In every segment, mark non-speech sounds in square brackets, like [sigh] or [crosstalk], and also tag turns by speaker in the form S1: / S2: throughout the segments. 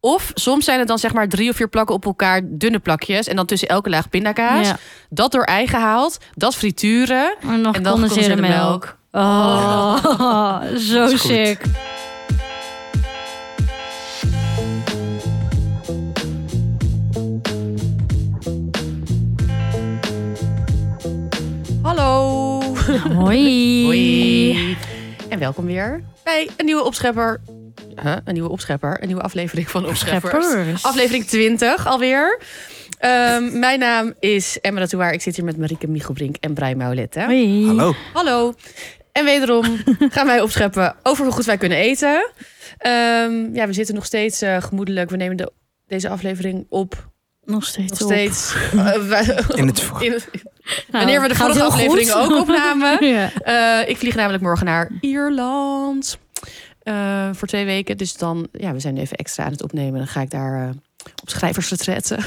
S1: Of soms zijn het dan zeg maar drie of vier plakken op elkaar dunne plakjes. En dan tussen elke laag pindakaas.
S2: Ja.
S1: Dat door ei gehaald. Dat frituren.
S2: En nog
S1: En dan
S2: gecondenseerde
S1: gecondenseerde
S2: melk. Oh, [laughs] zo
S3: is goed.
S1: [laughs]
S2: sick.
S1: Hallo.
S2: [laughs] Hoi.
S1: Hoi. En welkom weer bij een nieuwe opschepper. Huh? Een nieuwe opschepper. Een nieuwe aflevering van Opscheppers.
S2: Scheppers.
S1: Aflevering 20 alweer. Ehm, mijn naam is Emma Ratouwaar. Ik zit hier met Marieke Michelbrink en Brian Maulette.
S2: Hoi.
S3: Hallo.
S1: Hallo. En
S2: [laughs]
S1: wederom gaan wij opscheppen over hoe goed wij kunnen eten. Ehm, ja, we zitten nog steeds eh, gemoedelijk. We nemen de, deze aflevering op.
S2: Nog steeds.
S1: Nog
S2: op. [laughs]
S1: steeds. eh, wij-
S3: In het voor-
S1: in-
S2: Nou,
S1: wanneer we de
S2: gaat
S1: vorige
S2: heel
S1: aflevering
S2: goed. [laughs]
S1: ook opnamen.
S2: ja.
S1: Eh, ik vlieg namelijk morgen naar Ierland. eh, voor twee weken. Dus dan, ja, we zijn nu even extra aan het opnemen. Dan ga ik daar eh, op schrijversretretten.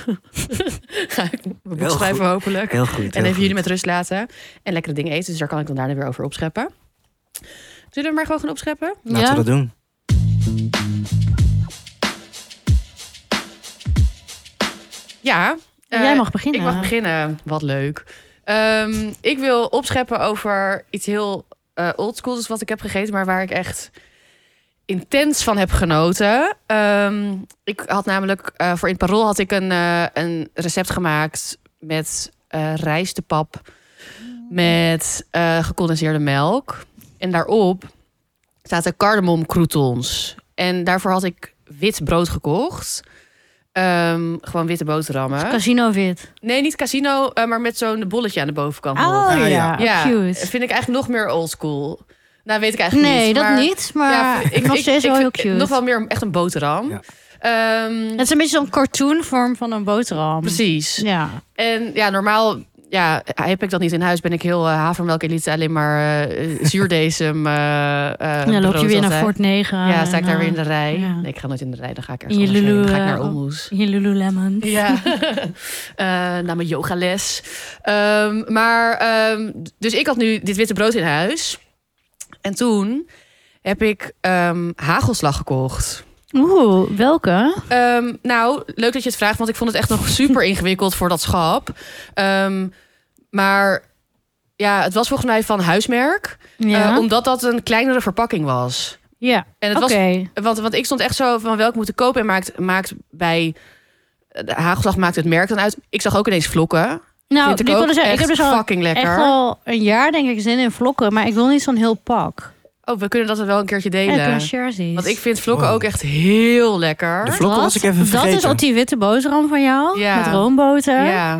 S1: [laughs] ga ik mijn boek
S3: Heel
S1: schrijven hopelijk.
S3: Heel goed.
S1: En even jullie met rust laten. En lekkere dingen eten. Dus daar kan ik dan daarna weer over opscheppen. Zullen we maar gewoon gaan opscheppen?
S3: Laten
S2: Ja?
S3: we dat doen.
S1: Ja. eh,
S2: Jij mag beginnen.
S1: Ik mag beginnen. Wat leuk. Ehm, ik wil opscheppen over iets heel eh oldschool. Dus wat ik heb gegeten, maar waar ik echt intens van heb genoten. Ehm, ik had namelijk eh, voor in het parool had ik een, eh, een recept gemaakt met eh rijstepap met eh, gecondenseerde melk. En daarop zaten cardamom croutons. En daarvoor had ik wit brood gekocht. Ehm, gewoon witte boterhammen.
S2: Casino wit.
S1: Nee, niet casino, eh, maar met zo'n bolletje aan de bovenkant. nog.
S2: Oh ja.
S3: ja.
S1: ja,
S2: Cute.
S1: vind ik eigenlijk nog meer oldschool. Nou, weet ik eigenlijk
S2: Nee,
S1: niet.
S2: dat
S1: maar-
S2: niet. Maar
S1: Ja,
S2: ik nog steeds wel heel
S1: vind-
S2: cute.
S1: Nog wel meer echt een boterham.
S3: Ja.
S1: Ehm,
S2: Het is een beetje zo'n cartoon vorm van een boterham.
S1: precies.
S2: Ja.
S1: En ja, normaal ja, heb ik dat niet in huis. Ben ik heel eh, havermelk elite, alleen maar eh zuurdesem. eh eh,
S2: En dan loop je
S1: brood
S2: weer naar
S1: altijd.
S2: Fort 9.
S1: Ja, sta ik
S2: en,
S1: daar weer in
S2: eh,
S1: de rij.
S2: ja.
S1: Nee, ik ga nooit in de rij. Dan ga ik
S2: In
S1: ergens
S2: je
S1: anders heen. Dan ga ik
S2: Lulu,
S1: naar
S2: eh,
S1: Olmoes.
S2: in je Lululemon.
S1: Ja, Eh, naar mijn yogales. Ehm, maar, ehm, dus ik had nu dit witte brood in huis. En toen heb ik ehm, hagelslag gekocht.
S2: Oeh, welke?
S1: Ehm, nou, leuk dat je het vraagt, want ik vond het echt nog super ingewikkeld voor dat schap. Ehm, maar ja, het was volgens mij van huismerk.
S2: Ja.
S1: eh, omdat dat een kleinere verpakking was.
S2: ja.
S1: En het
S2: Oké.
S1: was want, want ik stond echt zo van welk moet ik kopen. En maakt, maakt bij eh, de hagelslag maakt het merk dan uit. Ik zag ook ineens vlokken.
S2: Nou,
S1: Vind
S2: ik,
S1: ik, ook
S2: wilde zeggen, ik
S1: echt
S2: heb dus al,
S1: fucking lekker.
S2: echt al een jaar denk ik zin in vlokken, maar ik wil niet zo'n heel pak.
S1: Oh, we kunnen dat wel een keertje
S2: En ik wil
S1: delen.
S2: jerseys.
S1: Want ik vind vlokken
S3: Wow.
S1: ook echt heel lekker.
S3: De vlokken was ik even vergeten.
S2: Dat is op die witte boterham van jou,
S1: Ja.
S2: met roomboter.
S1: Ja.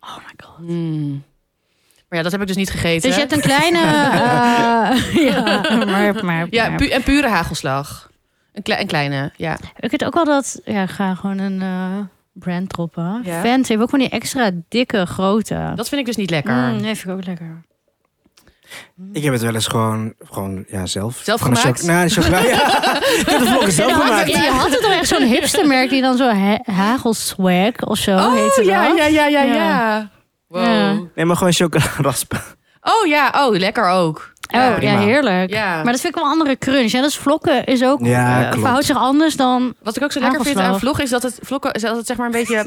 S2: Oh my god.
S1: Mm. Maar ja, dat heb ik dus niet gegeten.
S2: Dus je hebt een
S1: [laughs]
S2: kleine... eh, [laughs] ja, maar, maar,
S1: Ja,
S2: maar.
S1: pu- en pure hagelslag. Een, klei- een kleine, ja.
S2: Ik weet ook wel dat... Ja, ik ga gewoon een eh, brand droppen.
S1: Ja.
S2: Fans hebben ook van die extra dikke grote.
S1: Dat vind ik dus niet lekker.
S2: Mm, nee, vind ik ook lekker.
S3: Ik heb het wel eens gewoon, gewoon ja, zelf.
S1: Zelf
S3: Gewoon een
S1: gemaakt?
S3: choc- Nou, chocola.
S1: [laughs]
S3: Ja. Ik heb de vlokken zelf
S2: En dan had-
S3: gemaakt.
S2: ja, je had het toch echt zo'n hipstermerk die dan zo he- hagelswag of zo heette
S1: Oh,
S2: dat?
S1: ja, ja, ja, ja,
S2: Ja. Oh,
S1: ja. Wow.
S2: Ja.
S3: Nee, maar gewoon chocola raspen.
S1: Oh ja, oh, lekker ook.
S2: Oh, ja,
S3: prima.
S2: heerlijk.
S1: Ja.
S2: Maar dat vind ik wel een andere crunch. Ja, dus vlokken is ook
S3: Ja,
S2: eh,
S3: klopt.
S2: verhoudt zich anders dan.
S1: Wat ik ook zo lekker vind
S2: Hagelslag.
S1: aan vlog is dat het vlokken is dat het zeg maar een
S2: [laughs]
S1: beetje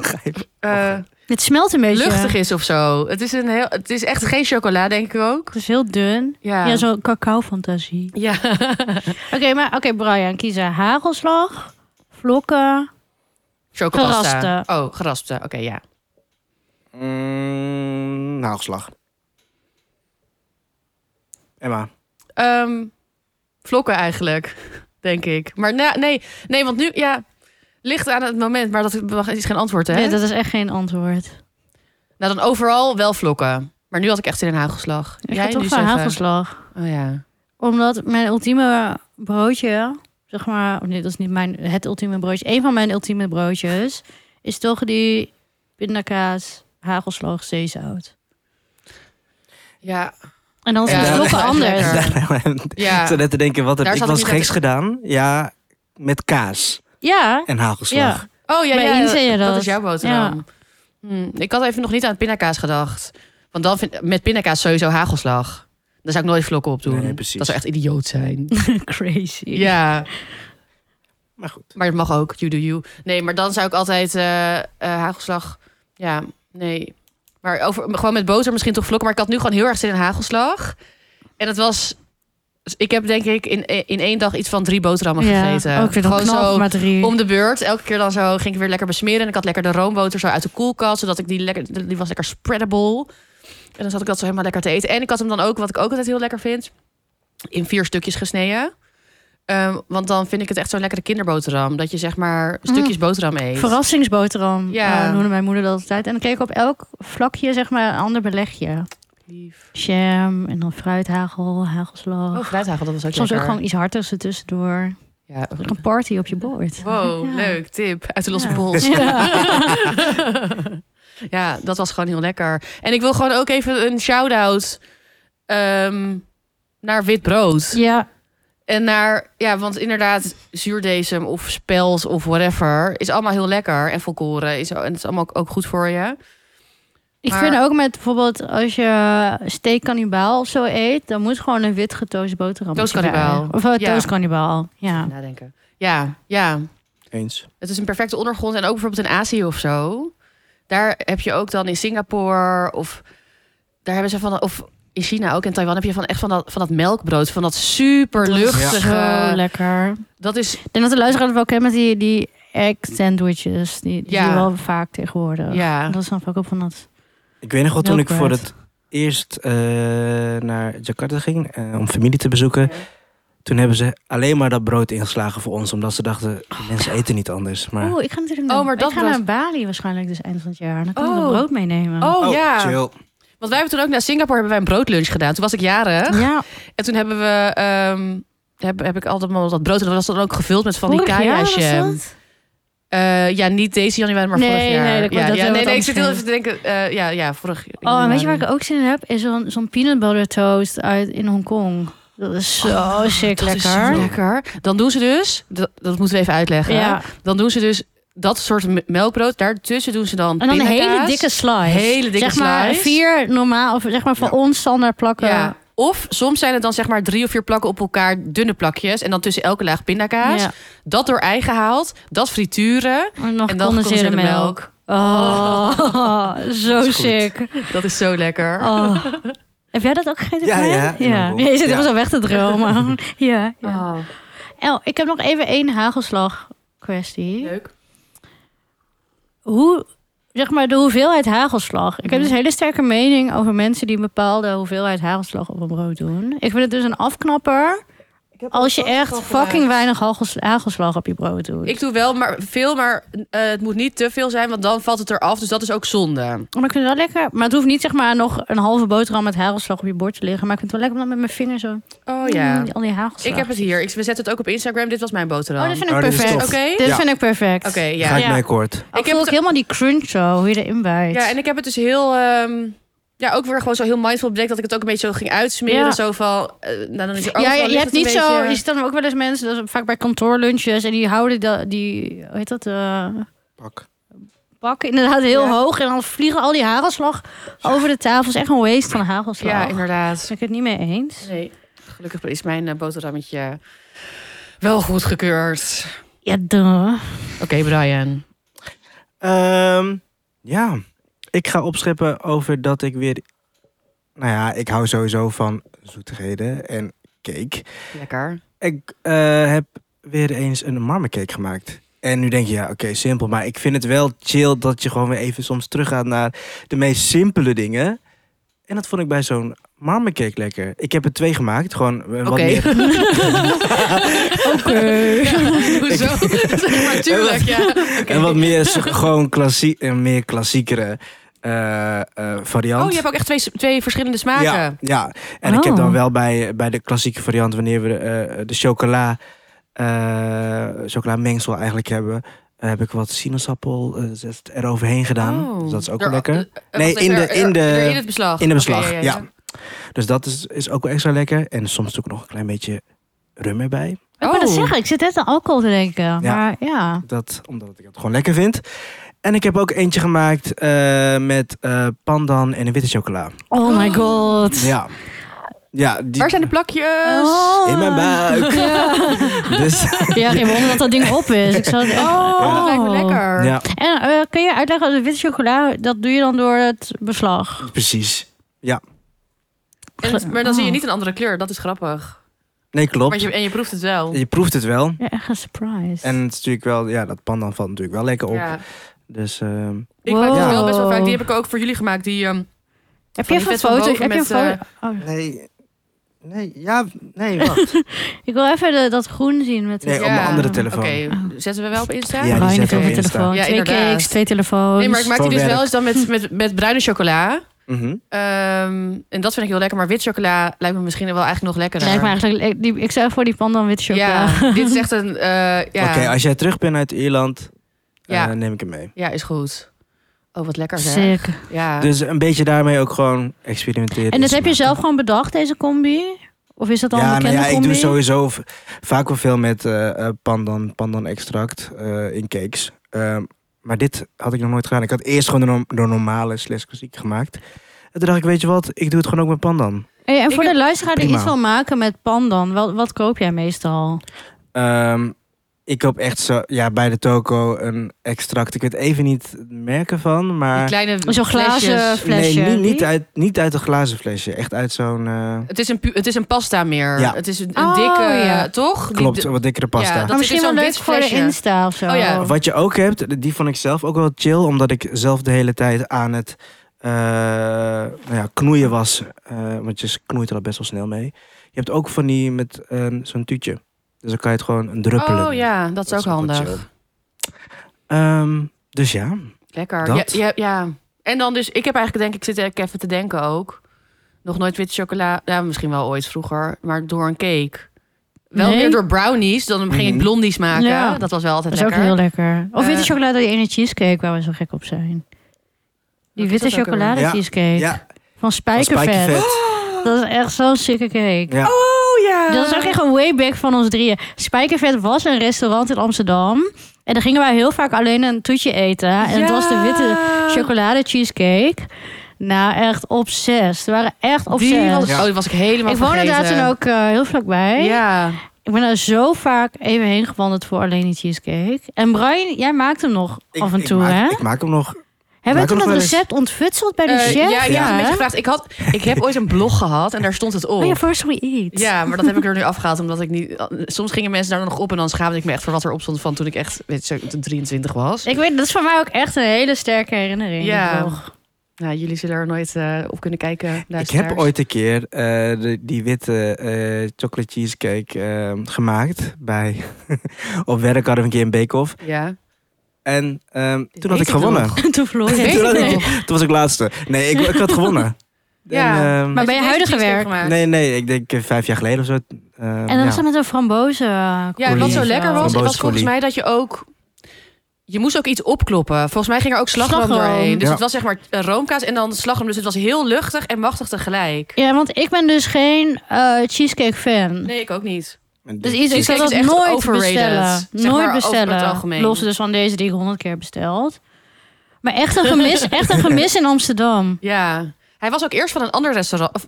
S1: eh,
S2: Het smelt een beetje.
S1: luchtig is of zo. Het is, een heel, het is echt geen chocola, denk ik ook.
S2: Het is heel dun.
S1: Ja.
S2: Ja, zo'n cacao-fantasie.
S1: ja.
S2: [laughs] Oké, maar oké, Brian, kiezen hagelslag, vlokken.
S1: Chocopasta.
S2: Geraspte.
S1: Oh, geraspte. Oké, ja.
S3: Mm, hagelslag. Emma.
S1: Ehm, vlokken eigenlijk, [laughs] denk ik. Maar na- nee, nee, want nu, ja, ligt aan het moment. Maar dat is geen antwoord, hè?
S2: Nee, dat is echt geen antwoord.
S1: Nou, dan overal wel vlokken. Maar nu had ik echt in een hagelslag.
S2: Ik
S1: Jij
S2: ga toch
S1: nu
S2: voor
S1: zeggen.
S2: hagelslag.
S1: Oh ja.
S2: Omdat mijn ultieme broodje, zeg maar... oh nee, dat is niet mijn, het ultieme broodje. Een van mijn ultieme broodjes is toch die pindakaas, hagelslag, zeezout.
S1: Ja,
S2: En dan is
S1: Ja,
S2: het
S3: dat is
S2: vlokken
S1: echt
S2: anders.
S1: lekker.
S3: [laughs] Ik
S1: ja.
S3: zat net te denken, wat heb
S1: Daar
S3: ik
S1: zat
S3: was
S1: ik niet
S3: geks gedaan? Ja, met kaas
S2: Ja,
S3: en hagelslag.
S1: Oh ja,
S2: Bij
S1: ja,
S2: Iens zei je
S1: dat
S2: dat.
S1: is jouw boterham. Hm, ik had even nog niet aan pindakaas gedacht. Want dan vind met pindakaas sowieso hagelslag. Daar zou ik nooit vlokken op doen. [laughs]
S2: [laughs]
S3: Nee, precies.
S1: Dat zou echt idioot zijn.
S2: crazy.
S1: ja.
S3: Maar goed.
S1: Maar het mag ook, you do you. Nee, maar dan zou ik altijd eh, eh, hagelslag... Ja, nee. Maar over, gewoon met boter misschien toch vlokken. Maar ik had nu gewoon heel erg zin in hagelslag. En het was... dus Ik heb denk ik in, in één dag iets van drie boterhammen gegeten.
S2: ook weer
S1: gewoon
S2: dan knal
S1: zo
S2: maar drie.
S1: om de beurt. Elke keer dan zo ging ik weer lekker besmeren. En ik had lekker de roomboter zo uit de koelkast. Zodat ik die lekker... Die was lekker spreadable. En dan zat ik dat zo helemaal lekker te eten. En ik had hem dan ook, wat ik ook altijd heel lekker vind... in vier stukjes gesneden. Ehm, want dan vind ik het echt zo'n lekkere kinderboterham. Dat je zeg maar stukjes
S2: Mm.
S1: boterham eet.
S2: Verrassingsboterham
S1: Ja.
S2: eh, noemde mijn moeder dat altijd. En dan kreeg ik op elk vlakje zeg maar een ander belegje.
S1: Lief.
S2: Jam en dan fruithagel, hagelslag.
S1: Oh, fruithagel, dat was ook
S2: Soms ook
S1: lekker.
S2: gewoon iets harders ertussendoor.
S1: Ja.
S2: Like een party op je bord.
S1: Wow,
S2: Ja.
S1: leuk. Tip. Uit de losse
S2: Ja.
S1: pols. [laughs] ja, dat was gewoon heel lekker. En ik wil gewoon ook even een shout-out ehm, naar wit brood.
S2: Ja,
S1: En naar, ja, want inderdaad, zuurdesem of spelt of whatever is allemaal heel lekker. En volkoren is, en het is allemaal ook- ook goed voor je.
S2: ik
S1: Maar-
S2: vind ook met bijvoorbeeld als je steak kannibaal of zo eet, dan moet gewoon een wit getoast boterham.
S1: Toastkannibaal.
S2: erbij. Of uh,
S1: Ja.
S2: toastkannibaal, ja.
S1: Nadenken. Ja, ja.
S3: Eens.
S1: Het is een perfecte ondergrond. En ook bijvoorbeeld in Azië of zo. Daar heb je ook dan in Singapore of daar hebben ze van of in China ook in Taiwan heb je van echt van dat van dat melkbrood van dat super luchtige.
S2: Zo lekker.
S1: Dat is
S2: Ik denk dat de luisteraar het wel kent met die, die egg sandwiches. Die, die
S1: Ja.
S2: zie je wel vaak tegenwoordig.
S1: ja.
S2: Dat snap ik ook van dat.
S3: Ik weet nog wel, toen ik voor
S2: Milkbread.
S3: het eerst eh, naar Jakarta ging eh, om familie te bezoeken. Toen hebben ze alleen maar dat brood ingeslagen voor ons. Omdat ze dachten, die mensen eten niet anders. Maar,
S2: Oeh, ik ga natuurlijk
S1: Oh,
S2: naar,
S1: maar dat
S2: ik ga
S1: was-
S2: naar Bali waarschijnlijk dus eind van het jaar. Dan kan ik
S1: Oh.
S2: dat brood meenemen.
S1: Oh, ja.
S3: chill.
S1: Want wij hebben toen ook naar Singapore hebben wij een broodlunch gedaan. Toen was ik jarig
S2: Ja,
S1: en toen hebben we ehm, heb, heb ik altijd maar dat brood en dat was dan ook gevuld met van die
S2: vorig jaar
S1: kaya
S2: was
S1: jam.
S2: dat?
S1: Eh, ja, niet deze januari, maar
S2: Nee,
S1: vorig jaar.
S2: nee, dat-
S1: ja,
S2: dat-
S1: ja,
S2: dat-
S1: nee, nee, ik
S2: dat-
S1: zit heel even te denken. eh, ja, ja, vorig
S2: Oh, en weet je waar
S1: januari.
S2: ik ook zin in heb? Is zo'n zo'n peanut butter toast uit in Hongkong. Ah, Dat is zo sick
S1: Oh, Dat is zo
S2: lekker.
S1: lekker. Dan doen ze dus, dat, dat moeten we even uitleggen.
S2: ja.
S1: Dan doen ze dus dat soort me- melkbrood. Daartussen doen ze dan
S2: En dan een hele
S1: pindakaas.
S2: dikke slice.
S1: Hele dikke
S2: zeg maar
S1: slice.
S2: vier normaal, of zeg maar voor
S3: Ja.
S2: ons standaard plakken.
S1: Ja. Of soms zijn het dan zeg maar drie of vier plakken op elkaar, dunne plakjes. En dan tussen elke laag pindakaas.
S2: Ja.
S1: Dat door ei gehaald, dat frituren.
S2: En nog
S1: en dan
S2: gecondenseerde melk. Oh, zo
S3: Dat is goed.
S2: sick.
S1: Dat is zo lekker.
S2: Oh. Heb jij dat ook gegeten?
S3: Ja,
S2: Brian?
S3: ja, in
S2: ja.
S3: mijn bol.
S2: Je zit
S3: Ja.
S2: helemaal zo weg te
S3: [laughs]
S2: dromen. ja, ja.
S1: Oh,
S2: El, ik heb nog even één hagelslag kwestie.
S1: Leuk.
S2: hoe, zeg maar, de hoeveelheid hagelslag. Ik heb
S1: Mhm.
S2: dus een hele sterke mening over mensen die een bepaalde hoeveelheid hagelslag op een brood doen. Ik vind het dus een afknapper als je echt fucking weinig hagels- hagelslag op je brood doet.
S1: Ik doe wel maar veel, maar eh, het moet niet te veel zijn, want dan valt het eraf. Dus dat is ook zonde.
S2: Maar ik vind het wel lekker. Maar het hoeft niet zeg maar nog een halve boterham met hagelslag op je bord te liggen. Maar ik vind het wel lekker om dat met mijn vinger zo...
S1: Oh ja.
S2: mm, al die hagelslag.
S1: Ik heb het hier. Ik, we zetten het ook op Instagram. Dit was mijn boterham.
S2: Oh, dit vind ik
S3: Oh, dit is
S2: perfect.
S3: tof.
S1: Oké?
S3: Oké.
S2: Dit
S3: Ja.
S2: vind ik perfect.
S1: Oké, ja.
S3: Ga ik
S2: Ja.
S3: mee akkoord.
S2: Ik
S1: heb
S2: voel ook
S1: het-
S2: helemaal die crunch zo, hoe je erin bijt.
S1: Ja, en ik heb het dus heel... ehm, ja, ook weer gewoon zo heel mindful bedenkt... dat ik het ook een beetje zo ging uitsmeren.
S2: Ja.
S1: Zo van... eh, nou, dan is er
S2: Ja,
S1: overal
S2: je, je
S1: ligt
S2: hebt
S1: het een
S2: niet zo.
S1: beetje-
S2: Je ziet dan ook wel eens mensen, dat is vaak bij kantoorlunches, en die houden da- die, hoe heet dat, eh
S3: Pak.
S2: bak inderdaad heel
S1: Ja.
S2: hoog. En dan vliegen al die hagelslag over de tafel. is echt een waste van hagelslag.
S1: Ja,
S2: Ja, daar
S1: inderdaad.
S2: ben ik het niet mee eens.
S1: Nee. Gelukkig is mijn eh, boterhammetje wel goedgekeurd.
S2: Ja, duh.
S1: Oké, Brian.
S3: Ehm, ja, ik ga opscheppen over dat ik weer... Nou ja, ik hou sowieso van zoetigheden en cake.
S1: Lekker.
S3: Ik eh, heb weer eens een marmercake gemaakt. En nu denk je, ja, oké, simpel. Maar ik vind het wel chill dat je gewoon weer even soms teruggaat naar de meest simpele dingen. En dat vond ik bij zo'n marmercake lekker. Ik heb er twee gemaakt, gewoon eh, wat
S1: Oké.
S3: meer.
S2: [laughs] Oké.
S1: [laughs] Hoezo? zeg [laughs] maar, tuurlijk,
S3: [laughs]
S1: ja. [laughs] Oké.
S3: En wat meer, zo- gewoon klassie en meer klassiekere eh, eh, variant.
S1: Oh, je hebt ook echt twee, twee verschillende smaken.
S3: Ja, ja. en ik heb dan wel bij, bij de klassieke variant, wanneer we eh, de chocola, eh chocolamengsel eigenlijk hebben, eh, heb ik wat sinaasappel eh, zest eroverheen gedaan.
S1: Oh.
S3: Dus dat is ook
S1: Er-
S3: wel lekker.
S1: eh, eh,
S3: Nee,
S1: wacht
S3: in
S1: even,
S3: de-
S1: er-
S3: in de-
S1: er- in het beslag.
S3: In
S1: Oké,
S3: de beslag, ja. Dus dat is, is ook wel extra lekker. En soms doe ik nog een klein beetje rum erbij.
S2: Ik wil dat
S1: Oh.
S2: zeggen, ik zit net aan alcohol te denken. Maar ja.
S3: Dat, omdat ik het gewoon lekker vind. En ik heb ook eentje gemaakt eh, met eh, pandan en een witte chocola.
S2: Oh my god.
S3: Ja, Ja, die...
S1: Waar zijn de plakjes?
S2: Oh.
S3: In mijn buik.
S2: Ja.
S3: [laughs] Dus,
S2: ja, geen wonder dat dat ding op is. Ik zou het echt-
S1: Oh, dat lijkt me lekker.
S3: ja,
S2: En eh, kun je uitleggen, als witte chocola, dat doe je dan door het beslag?
S3: precies.
S1: En het- maar dan
S2: Oh.
S1: zie je niet een andere kleur. Dat is grappig.
S3: Nee,
S1: Maar
S3: klopt.
S1: je, en je proeft het wel.
S3: Je proeft het wel.
S2: Ja, echt een surprise.
S3: En het is natuurlijk wel, ja, dat pandan valt natuurlijk wel lekker op.
S1: Ja.
S3: Dus ehm,
S1: Ik maak het
S2: Wow.
S1: wel best wel vaak. Die heb ik ook voor jullie gemaakt. Die, ehm,
S2: heb
S1: van
S2: je
S1: die
S2: even een
S1: vet van
S2: foto?
S1: boven
S2: Heb je een
S1: met, eh,
S2: foto? Oh,
S3: nee, nee, ja, nee, wacht.
S2: ik wil even de- dat groen zien. Met
S3: Nee,
S2: die- eh,
S3: op mijn
S1: Ja.
S3: andere telefoon.
S1: Oké, zetten we wel op Insta?
S3: Ja, die
S2: Bruine
S3: zet ik op
S2: kleine
S3: Insta.
S2: telefoon.
S1: Ja,
S2: twee
S1: inderdaad.
S2: cakes, twee telefoons.
S1: Nee, maar ik maak die
S3: Voor
S1: dus
S3: werk.
S1: wel eens dan met, met, met bruine chocola.
S3: [laughs] Mhm.
S1: Ehm, en dat vind ik heel lekker. Maar wit chocola lijkt me misschien wel eigenlijk nog lekkerder.
S2: Lijkt me eigenlijk, ik, die, ik zou voor die pandan witte chocola.
S1: Ja, dit is echt een... eh, ja.
S3: Oké, als jij terug bent uit Ierland, eh,
S1: Ja.
S3: neem ik hem mee.
S1: ja, is goed. Oh, wat lekker zeg.
S2: Sick.
S1: Ja.
S3: Dus een beetje daarmee ook gewoon experimenteren.
S2: En dat
S3: is
S2: heb je
S3: smaken.
S2: zelf gewoon bedacht, deze combi? Of is dat al een
S3: Ja, nou
S2: bekende
S3: ja, ik
S2: combi?
S3: doe sowieso v- vaak wel veel met eh, eh, pandan, pandan extract eh, in cakes. Ehm, maar dit had ik nog nooit gedaan. Ik had eerst gewoon de, norm- de normale slash klassiek gemaakt. En toen dacht ik, weet je wat, ik doe het gewoon ook met pandan.
S2: Hey, en
S1: Ik
S2: voor
S1: heb-
S2: de luisteraar die
S3: Prima.
S2: iets wil maken met pandan, wat, wat koop jij meestal?
S3: Ehm, ik koop echt zo, ja, bij de toko een extract. Ik weet even niet het merk ervan,
S1: Die
S3: maar...
S1: kleine
S2: Zo'n glazen
S1: flesjes.
S2: flesje.
S3: nee, niet, niet,
S2: die?
S3: uit, niet uit een glazen flesje. Echt uit zo'n... eh,
S1: Het is, een pu- het is een pasta meer.
S3: Ja.
S1: Het is een, een
S2: Oh,
S1: dikke,
S2: ja.
S1: toch? Die-
S3: klopt, een wat dikkere pasta.
S1: dat
S2: Maar
S1: is
S2: Nou, misschien
S1: dus
S2: wel
S1: zo'n
S2: leuk
S1: wit
S2: voor de
S1: flesje.
S2: Insta of zo.
S1: Oh ja.
S3: Wat je ook hebt, die vond ik zelf ook wel chill, omdat ik zelf de hele tijd aan het eh, nou ja, knoeien was. Eh, want je knoeit er al best wel snel mee. Je hebt ook van die met eh, zo'n tuutje. Dus dan kan je het gewoon druppelen.
S1: Oh ja, dat is ook
S3: wel
S1: handig.
S3: chill. Ehm, dus ja,
S1: Lekker.
S3: Dat.
S1: Ja, ja, ja. En dan dus, ik heb eigenlijk denk ik, zit ik even te denken ook. Nog nooit witte chocola. Ja, misschien wel ooit vroeger, maar door een cake. Wel
S2: Nee.
S1: meer door brownies, dan ging ik
S3: Mhm.
S1: blondies maken.
S2: Ja.
S1: Dat was wel altijd
S2: Dat is ook
S1: lekker.
S2: heel lekker. Of witte
S1: Eh,
S2: chocolade, die ene cheesecake waar we zo gek op zijn. Die
S1: Wat is
S2: witte
S1: dat ook
S2: chocolade
S3: alweer? Ja,
S2: cheesecake.
S3: ja
S2: Van
S3: van
S2: spijkervet.
S3: spijkervet.
S2: Oh, Dat is echt zo'n sicke cake.
S3: Ja.
S1: Oh ja.
S2: Dat is ook echt een wayback van ons drieën. Spijkervet was een restaurant in Amsterdam. En daar gingen wij heel vaak alleen een toetje eten. En het was de witte chocolade cheesecake. Nou, echt obsessed. We waren echt
S1: Die was,
S2: obsessed.
S1: Oh, die was ik helemaal
S2: Ik woonde daar
S1: inderdaad
S2: toen ook eh, heel vlakbij.
S1: Ja.
S2: Ik ben er zo vaak even heen gewandeld voor alleen die cheesecake. En Brian, jij maakt hem nog
S3: Ik-
S2: af en
S3: ik
S2: toe,
S3: maak-
S2: hè?
S3: Ik maak hem nog.
S2: Hebben we
S3: maak
S2: toen
S3: hem nog
S2: dat
S3: wel eens.
S2: recept ontfutseld bij de
S1: Eh,
S2: chef?
S1: ja, ik heb
S3: Ja.
S1: een beetje gevraagd. Ik, had, ik heb ooit een blog gehad en daar stond het op.
S2: Oh ja, first we eat.
S1: Ja, maar dat heb ik er nu afgehaald. Omdat ik niet. Soms gingen mensen daar nog op en dan schaamde ik me echt voor wat er op stond van toen ik echt weet je, zo 23 was.
S2: Ik weet, dat is voor mij ook echt een hele sterke herinnering.
S1: Ja.
S2: nog.
S1: Nou, jullie zullen er nooit eh, op kunnen kijken.
S3: Ik heb
S1: luisteraars.
S3: ooit een keer eh, de- die witte eh chocolate cheesecake eh, gemaakt. Bij, [laughs] op werk hadden we een keer een bake-off.
S1: Ja.
S3: En ehm, toen
S1: weet
S3: had ik
S1: ik nog.
S2: [laughs]
S3: gewonnen.
S2: toen verloor
S1: Weet
S2: je.
S3: Toen, had
S1: ik
S3: ik,
S1: nog.
S3: toen was ik laatste. Nee, ik, ik had
S2: [laughs]
S3: gewonnen.
S1: Ja,
S3: En, ehm,
S2: Maar bij je
S1: Heb
S2: huidige
S1: deze cheesecake
S2: werk?
S1: gemaakt?
S3: nee, nee, ik denk eh, vijf jaar geleden of zo. Ehm,
S2: En dan
S3: ja.
S2: was dat met een frambozen.
S1: Ja, en wat zo
S3: Olie.
S1: lekker was,
S3: Frambozen
S1: was volgens
S3: olie.
S1: mij dat je ook. Je moest ook iets opkloppen. Volgens mij ging er ook slagroom,
S2: Slagroom.
S1: doorheen. Dus
S3: Ja.
S1: het was zeg maar eh, roomkaas en dan slagroom. Dus het was heel luchtig en machtig tegelijk.
S2: Ja, want ik ben dus geen eh, cheesecake fan.
S1: Nee, ik ook niet.
S3: En
S2: Dus
S3: dit-
S2: ik zal
S1: Cheesecake
S2: dat
S1: is echt
S2: nooit
S1: overrated.
S2: bestellen.
S1: Zeg maar
S2: nooit
S1: over het
S2: bestellen.
S1: algemeen.
S2: Los dus van deze die ik honderd keer besteld. Maar echt een gemis, [laughs] echt een gemis in Amsterdam.
S1: Ja. Hij was ook eerst van een ander restaurant. Of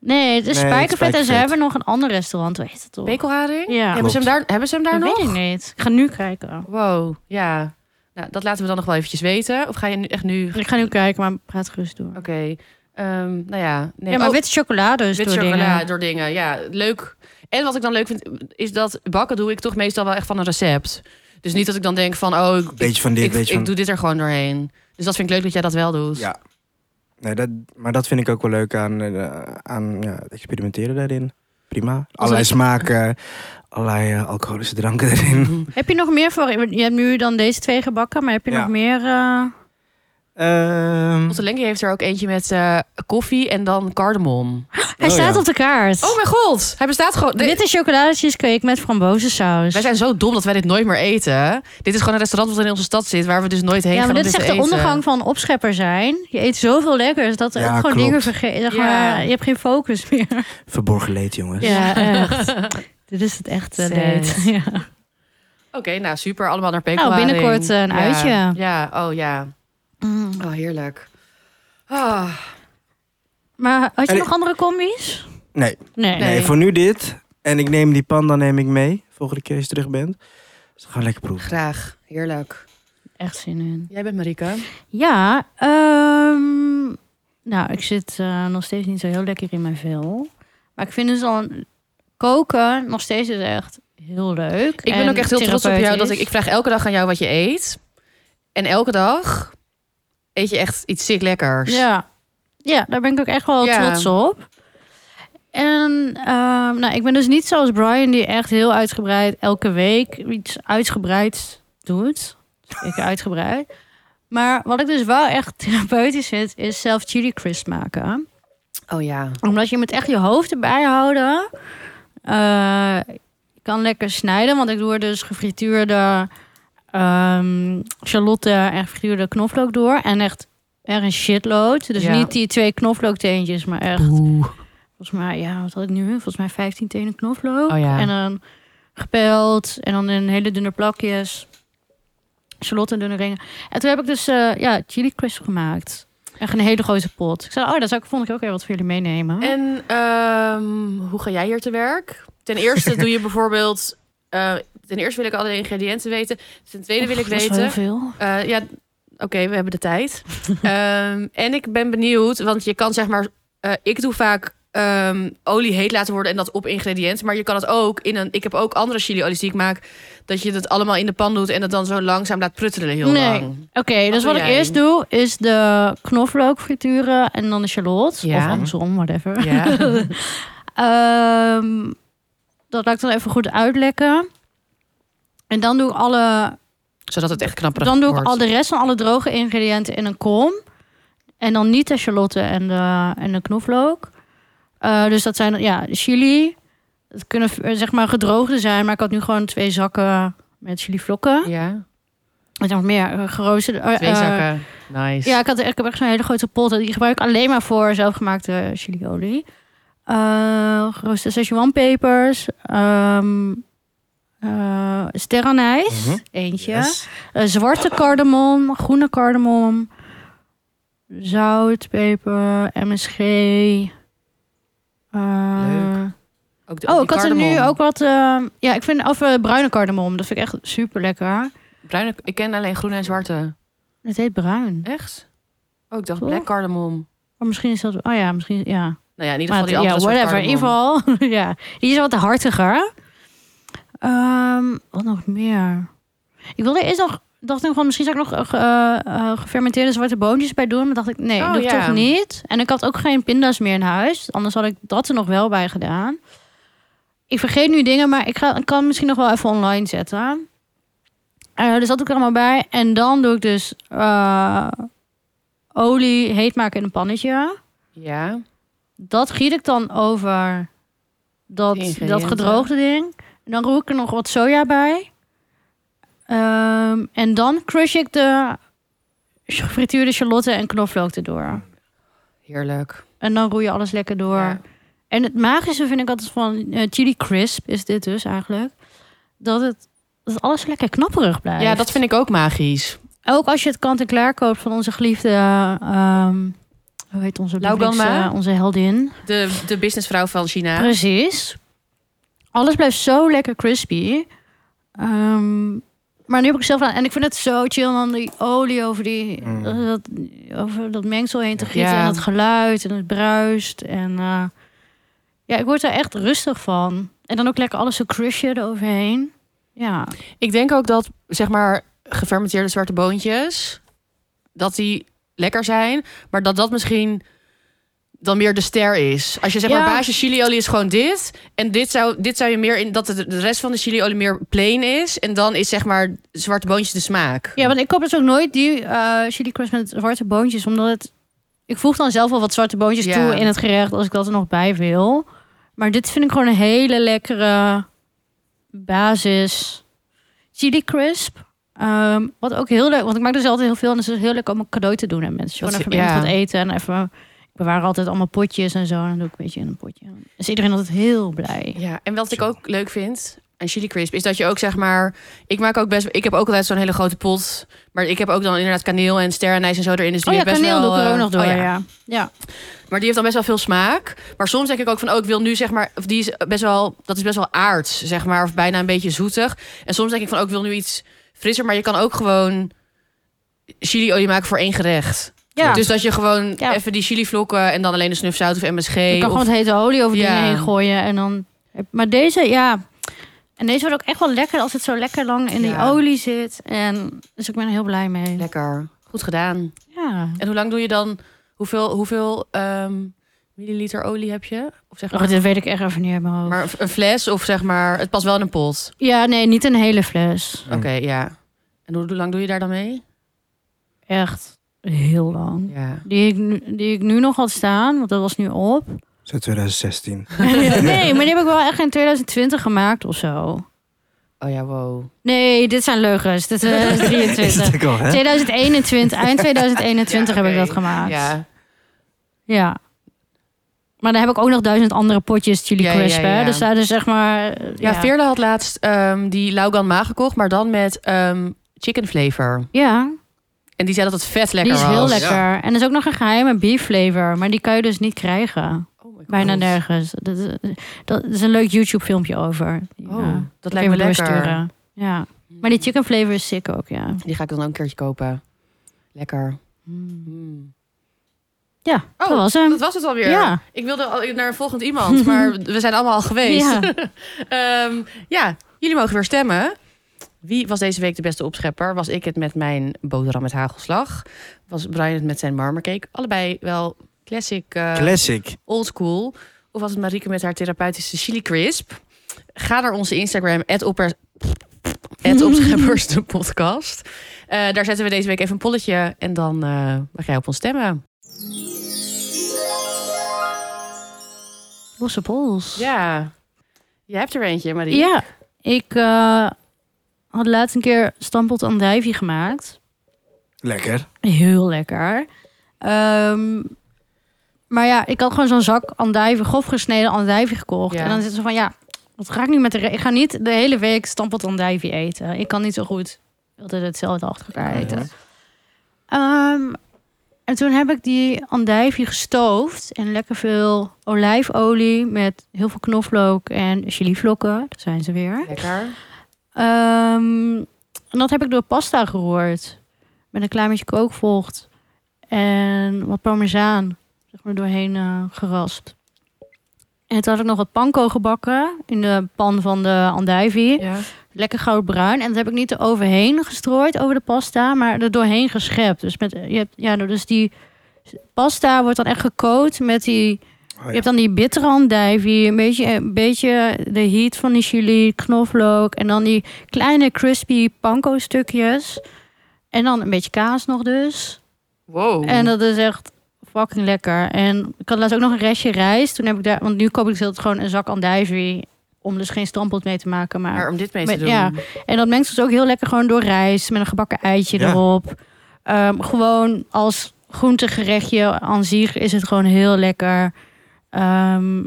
S2: Nee, het is
S3: Nee, het is
S2: spijkervet en ze
S3: Spijkervet.
S2: hebben nog een ander restaurant. Weet het toch?
S1: bekelharing?
S2: Ja.
S1: Hebben ze hem daar, hebben ze hem daar
S2: dat
S1: nog?
S2: weet ik niet. Ik ga nu kijken.
S1: Wow, ja. Nou, dat laten we dan nog wel eventjes weten. Of ga je nu echt nu... Oké.
S2: Ik ga nu kijken, maar praat gerust door.
S1: Ehm, nou ja. Nee.
S2: Ja, maar
S1: Oh,
S2: witte chocolade is
S1: wit
S2: door
S1: chocola
S2: dingen.
S1: door dingen. Ja, leuk. En wat ik dan leuk vind, is dat bakken doe ik toch meestal wel echt van een recept. Dus niet dat ik dan denk van, oh, ik,
S3: beetje van dit,
S1: ik,
S3: beetje
S1: ik
S3: van...
S1: doe dit er gewoon doorheen. Dus dat vind ik leuk dat jij dat wel doet.
S3: Ja. Nee, dat, maar dat vind ik ook wel leuk aan, eh, aan ja, het experimenteren daarin. Prima. Allerlei
S1: ik-
S3: smaken, allerlei eh, alcoholische dranken erin.
S1: Mhm.
S2: Heb je nog meer voor? Je hebt nu dan deze twee gebakken, maar heb je
S3: Ja.
S2: nog meer? eh,
S3: Ehm,
S1: Onze Lenkie heeft er ook eentje met eh, koffie en dan cardamom.
S2: Hij
S3: Oh,
S2: staat
S3: ja.
S2: op de kaart.
S1: Oh mijn god, hij bestaat gewoon...
S2: Dit is chocolade cheesecake met frambozensaus.
S1: Wij zijn zo dom dat wij dit nooit meer eten. Dit is gewoon een restaurant wat in onze stad zit, waar we dus nooit heen
S2: ja,
S1: gaan.
S2: maar dit
S1: om
S2: is
S1: te
S2: echt de
S1: eten.
S2: ondergang van opschepper zijn. Je eet zoveel lekkers dat er
S3: Ja,
S2: ook gewoon
S3: klopt.
S2: dingen vergeten. Zeg
S1: Ja.
S2: maar, Je hebt geen focus meer.
S3: verborgen leed, jongens.
S2: Ja, echt. [laughs] dit is het echte
S1: Sad.
S2: date. Ja.
S1: [laughs] Oké, nou super, allemaal naar Peking.
S2: Nou, binnenkort, eh, een uitje.
S1: Ja, oh ja.
S2: Mm.
S1: Oh, heerlijk. Ah,
S2: Maar had je
S3: En
S2: nog andere combis?
S3: Nee.
S2: Nee.
S3: Nee, voor nu dit. En ik neem die panda neem ik mee. Volgende keer als je terug bent. Dus gaan lekker proeven.
S1: Graag. Heerlijk.
S2: Echt zin in.
S1: Jij bent Marika.
S2: Ja, ehm, nou, ik zit eh, nog steeds niet zo heel lekker in mijn vel. Maar ik vind dus al een- koken nog steeds is echt heel leuk.
S1: Ik ben ook echt heel trots op jou. Dat ik, ik vraag elke dag aan jou wat je eet. En elke dag eet je echt iets sick lekkers.
S2: Ja. ja, daar ben ik ook echt wel
S1: Ja.
S2: trots op. En ehm, nou, ik ben dus niet zoals Brian, die echt heel uitgebreid elke week iets uitgebreids doet. Ik uitgebreid. Maar wat ik dus wel echt therapeutisch vind, is zelf chili crisp maken.
S1: Oh ja.
S2: Omdat je moet echt je hoofd erbij houden. Eh, je kan lekker snijden, want ik doe er dus gefrituurde ehm charlotte en gefrituurde knoflook door. En echt, echt een shitload. Dus
S1: Ja.
S2: niet die twee knoflookteentjes, maar echt...
S1: Oeh.
S2: Volgens mij, ja, wat had ik nu? Volgens mij 15 tenen knoflook.
S1: Oh ja.
S2: En dan gepeld en dan in hele dunne plakjes. Charlotte en dunne ringen. En toen heb ik dus eh, ja, chili crisp gemaakt. Echt een hele grote pot. Ik zei, oh, daar zou ik volgende keer ook weer wat voor jullie meenemen.
S1: En ehm, hoe ga jij hier te werk? Ten eerste doe je bijvoorbeeld... eh, ten eerste wil ik alle ingrediënten weten. Ten tweede wil ik
S2: Dat is wel
S1: weten...
S2: heel
S1: Eh, ja, oké, we hebben de tijd.
S2: [laughs]
S1: Ehm, en ik ben benieuwd, want je kan zeg maar... eh, ik doe vaak ehm, olie heet laten worden en dat op ingrediënten. Maar je kan het ook in een... Ik heb ook andere chiliolies die ik maak... dat je dat allemaal in de pan doet en dat dan zo langzaam laat pruttelen heel
S2: Nee.
S1: lang.
S2: Oké, dus
S1: doe
S2: wat ik
S1: jij?
S2: eerst doe is de knoflook frituren en dan de charlotte.
S1: Ja.
S2: Of andersom, whatever.
S1: Ja.
S2: Ehm, dat laat ik dan even goed uitlekken. En dan doe ik alle
S1: [laughs] Zodat het echt knapperig
S2: Dan doe ik
S1: wordt.
S2: al de rest van alle droge ingrediënten in een kom. En dan niet de charlotte en de, en de knoflook. Eh, dus dat zijn ja, chili. Het kunnen eh, zeg maar gedroogde zijn, maar ik had nu gewoon twee zakken met chili vlokken.
S1: Ja,
S2: En nog meer eh, geroosterde. eh,
S1: twee
S2: eh,
S1: zakken. Nice.
S2: ja, ik, had, ik heb echt zo'n hele grote pot. Die gebruik ik alleen maar voor zelfgemaakte chiliolie. Eh geroosterde Szechuanpepers. Ehm eh sterrenijs.
S3: Mhm.
S2: Eentje.
S3: Yes.
S2: Eh, zwarte kardemom, groene kardemom, zout, peper, MSG. eh,
S1: Leuk. Ook de-
S2: oh,
S1: die
S2: ik had er nu
S1: cardamom.
S2: ook wat. eh, ja, ik vind of eh, bruine kardemom. Dat vind ik echt super lekker.
S1: Bruine, ik ken alleen groene en zwarte.
S2: Het heet bruin.
S1: Echt? Oh, ik dacht
S2: Toch?
S1: black cardamom.
S2: Maar misschien is dat. Oh ja, misschien. Ja.
S1: Nou ja, in ieder
S2: Maar
S1: geval die
S2: ja,
S1: andere soort
S2: whatever. In ieder
S1: cardamom.
S2: geval. [laughs] ja. Die is wat hartiger. Ehm, wat nog meer? Ik wilde eerst nog. Dacht ik van misschien zou ik nog eh, eh, gefermenteerde zwarte boontjes bij doen. Maar dacht ik, nee,
S1: Oh,
S2: doe ik
S1: ja.
S2: toch niet. En ik had ook geen pinda's meer in huis. Anders had ik dat er nog wel bij gedaan. Ik vergeet nu dingen, maar ik, ga, ik kan misschien nog wel even online zetten. Eh dus dat doe ik er allemaal bij. En dan doe ik dus eh, olie heet maken in een pannetje
S1: Ja.
S2: dat giet ik dan over dat,
S1: De
S2: dat
S1: ingrediënten.
S2: gedroogde ding. En dan roer ik er nog wat soja bij. Ehm, en dan crush ik de gefrituurde charlotte en knoflook erdoor.
S1: Heerlijk.
S2: En dan roer je alles lekker door.
S1: Ja.
S2: En het magische vind ik altijd van eh, chili crisp, is dit dus eigenlijk. Dat het dat alles lekker knapperig blijft.
S1: ja, dat vind ik ook magisch.
S2: Ook als je het kant-en-klaar koopt van onze geliefde... ehm, hoe heet onze,
S1: Lauganma?
S2: lievelings, eh, onze heldin?
S1: De, de businessvrouw van China.
S2: Precies. Alles blijft zo lekker crispy. Ehm, maar nu heb ik zelf aan. En ik vind het zo chill om dan die olie over, die,
S3: Mm.
S2: eh, dat, over dat mengsel heen te gieten.
S1: Ja.
S2: En dat geluid en het bruist. En eh, ja, ik word daar echt rustig van. En dan ook lekker alles zo crushen eroverheen. Ja,
S1: Ik denk ook dat, zeg maar, gefermenteerde zwarte boontjes, dat die lekker zijn, maar dat dat misschien dan meer de ster is. Als je zeg maar
S2: Ja.
S1: basis chiliolie is gewoon dit en dit zou, dit zou je meer in dat het de rest van de chiliolie meer plain is en dan is zeg maar zwarte boontjes de smaak.
S2: ja want ik koop dus ook nooit die eh, chili crust met zwarte boontjes. Omdat het... Ik voeg dan zelf wel wat zwarte boontjes
S1: Ja.
S2: toe in het gerecht als ik dat er nog bij wil. Maar dit vind ik gewoon een hele lekkere basis chili crisp. Ehm, wat ook heel leuk, want ik maak dus altijd heel veel. En het is dus heel leuk om een cadeau te doen aan mensen. Gewoon
S1: Dat is-
S2: even ergens
S1: ja.
S2: wat eten en even... Ik bewaar altijd allemaal potjes en zo. En dan doe ik een beetje in een potje. Dan is iedereen altijd heel blij.
S1: Ja, en wat ik ook leuk vind, aan chili crisp is dat je ook zeg maar ik maak ook best ik heb ook altijd zo'n hele grote pot, maar ik heb ook dan inderdaad kaneel en sterrenijs en zo erin dus die
S2: Oh ja,
S1: heeft best
S2: kaneel
S1: wel
S2: doe ik er
S1: eh,
S2: ook nog door.
S1: oh ja.
S2: ja. Ja.
S1: Maar die heeft dan best wel veel smaak. Maar soms denk ik ook van, oh, ik wil nu zeg maar... Of die is best wel, dat is best wel aards, zeg maar. Of bijna een beetje zoetig. En soms denk ik van, oh, ik wil nu iets frisser. Maar je kan ook gewoon chiliolie maken voor één gerecht.
S2: Ja.
S1: Dus dat je gewoon
S2: Ja.
S1: even die chilivlokken... en dan alleen de snufzout of MSG.
S2: Je kan
S1: of-
S2: gewoon het hete olie over
S1: Ja.
S2: dingen heen gooien. En dan... Maar deze, ja. En deze wordt ook echt wel lekker als het zo lekker lang in die
S1: Ja.
S2: olie zit. En, dus ik ben er heel blij mee.
S1: Lekker. Goed gedaan.
S2: Ja.
S1: En hoe lang doe je dan... Hoeveel, hoeveel ehm, milliliter olie heb je? Of zeg
S2: Oh,
S1: maar,
S2: dit weet ik echt even niet uit mijn hoofd.
S1: maar een fles of zeg maar... Het past wel in een pot.
S2: Ja, nee, niet een hele fles.
S1: Oké, ja. En hoe, hoe lang doe je daar dan mee?
S2: Echt heel lang.
S1: Ja.
S2: Die ik, nu- die ik nu nog had staan, want dat was nu
S1: [laughs]
S2: op.
S3: Zet 2016.
S2: nee, maar die heb ik wel echt in 2020 gemaakt of zo.
S1: Oh ja, wow.
S2: Nee, dit zijn leugens. Dit
S1: [laughs]
S2: eh, is
S3: Is
S2: 23.
S3: het ook al, hè?
S2: 2021, eind 2021
S1: Ja,
S2: heb ik
S1: oké.
S2: dat gemaakt.
S1: Ja.
S2: Ja. Maar dan heb ik ook nog duizend andere potjes chili
S1: Ja, ja,
S2: crisp. hè.
S1: ja.
S2: Dus daar is zeg maar... eh,
S1: Ja, Veerle had laatst ehm, die Laugan Ma gekocht, maar dan met ehm, chicken flavor.
S2: Ja,
S1: En die zei dat het vet
S2: die
S1: lekker
S2: is
S1: was.
S2: heel
S3: Ja.
S2: lekker. En er is ook nog een geheime beef flavor. Maar die kan je dus niet krijgen.
S1: Oh my
S2: Bijna
S1: God.
S2: nergens. Dat is, dat is een leuk YouTube filmpje over.
S1: Oh,
S2: Ja.
S1: dat
S2: Kun
S1: lijkt me
S2: je me
S1: lekker. Hmm.
S2: doorsturen. Ja. Maar die chicken flavor is sick ook, ja.
S1: Die ga ik dan ook een keertje kopen. Lekker. Mm.
S2: Ja,
S1: Oh,
S2: dat was hem.
S1: Dat was het alweer.
S2: Ja.
S1: Ik wilde al naar een volgend
S2: [laughs]
S1: iemand, maar we zijn allemaal al geweest.
S2: Ja.
S1: [laughs] Ehm, ja, jullie mogen weer stemmen. Wie was deze week de beste opschepper? Was ik het met mijn boterham met hagelslag? Was Brian het met zijn marmercake? Allebei wel classic, eh,
S3: Classic.
S1: old school. Of was het Marieke met haar therapeutische chili crisp? Ga naar onze Instagram, @opper- [laughs] @opscheppersdepodcast. de podcast. Eh, daar zetten we deze week even een polletje en dan eh, mag jij op ons stemmen.
S2: Losse pols.
S1: Ja, je hebt er eentje, Marie.
S2: Ja, ik eh, had laatst een keer stampot andijvie gemaakt.
S3: Lekker.
S2: Heel lekker. Ehm, maar ja, ik had gewoon zo'n zak andijvie, grof gesneden andijvie gekocht.
S1: Ja.
S2: En dan zit ze van, ja, wat ga ik nu met de... re- Ik ga niet de hele week stampot andijvie eten. Ik kan niet zo goed altijd hetzelfde achter elkaar eten. Ehm, en toen heb ik die andijvie gestoofd en lekker veel olijfolie met heel veel knoflook en chilivlokken. Daar zijn ze weer.
S1: Lekker.
S2: Ehm, en dat heb ik door pasta geroerd. Met een klein beetje kookvocht. En wat parmezaan. Zeg maar doorheen eh, geraspt. En toen had ik nog wat panko gebakken. In de pan van de andijvie.
S1: Ja.
S2: Lekker goudbruin. En dat heb ik niet eroverheen gestrooid over de pasta. Maar er doorheen geschept. Dus, met, je hebt, ja, dus die pasta wordt dan echt gekookt met die
S3: Oh,
S2: je hebt dan die bittere andijvie, een beetje, een beetje de heat van die chili, knoflook en dan die kleine crispy panko stukjes. En dan een beetje kaas nog dus.
S1: Wow.
S2: En dat is echt fucking lekker. En ik had laatst ook nog een restje rijst. Toen heb ik daar, want nu koop ik dus altijd gewoon een zak andijvie om dus geen stampot mee te maken, maar
S1: maar om dit mee te
S2: met-
S1: doen.
S2: ja. en dat mengt dus ook heel lekker gewoon door rijst met een gebakken eitje
S3: Ja.
S2: erop. Ehm, gewoon als groentegerechtje aan zich is het gewoon heel lekker. Ehm,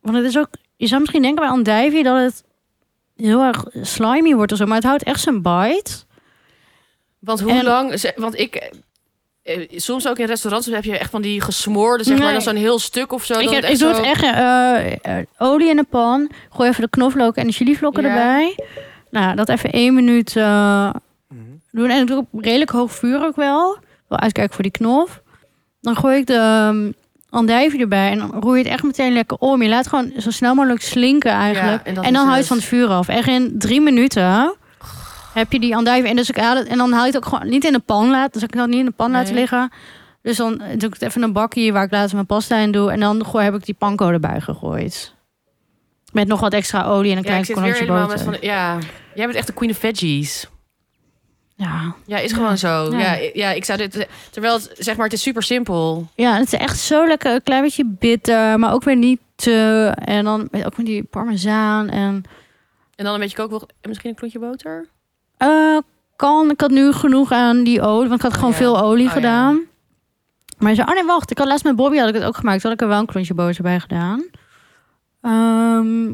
S2: want het is ook, je zou misschien denken bij andijvie dat het heel erg slimy wordt of zo, maar het houdt echt zijn bite.
S1: Want hoe
S2: En-
S1: lang... ze- Want ik... eh, eh, Soms ook in restaurants heb je echt van die gesmoorde, zeg maar,
S2: Nee.
S1: dan zo'n heel stuk of zo.
S2: ik,
S1: dat
S2: heb-
S1: het
S2: ik doe het
S1: zo-
S2: echt eh, eh, olie in de pan, gooi even de knoflook en de chilivlokken
S1: Ja.
S2: erbij. Nou, dat even één minuut eh,
S3: Mhm.
S2: doen. En ik doe op redelijk hoog vuur ook wel. Wel uitkijken voor die knof. Dan gooi ik de ehm, andijvie erbij en dan roer je het echt meteen lekker om. Je laat gewoon zo snel mogelijk slinken eigenlijk.
S1: Ja,
S2: en,
S1: en dat
S2: dan
S1: is dus-
S2: hou je
S1: het.
S2: het van het vuur af. Echt in drie minuten heb je die andijvie. En, dus ik haal het, en dan haal je het ook gewoon niet in de pan laten. Dus ik kan het niet in de pan laten
S1: Nee.
S2: liggen. Dus dan doe ik het even in een bakje waar ik later mijn pasta in doe. En dan gooi, heb ik die panko erbij gegooid. Met nog wat extra olie en een
S1: Ja, ik
S2: klein
S1: zit weer
S2: konijntje
S1: helemaal
S2: boter.
S1: met van... Ja, jij bent echt de queen of veggies.
S2: Ja.
S1: Ja, is gewoon zo.
S2: Ja.
S1: Ja. Ja, ik zou dit. Terwijl het, zeg maar, het is super simpel.
S2: Ja, het is echt zo lekker. Een klein beetje bitter, maar ook weer niet te. En dan met- ook met die parmezaan. En
S1: En dan een beetje kookwoord en misschien een klontje boter.
S2: eh, kan, ik had nu genoeg aan die olie, want ik had gewoon
S1: ja.
S2: veel olie
S1: Oh, ja.
S2: gedaan. Maar hij zei, oh nee, wacht. Ik had laatst met Bobby had ik het ook gemaakt. Toen had ik er wel een klontje boter bij gedaan. Ehm,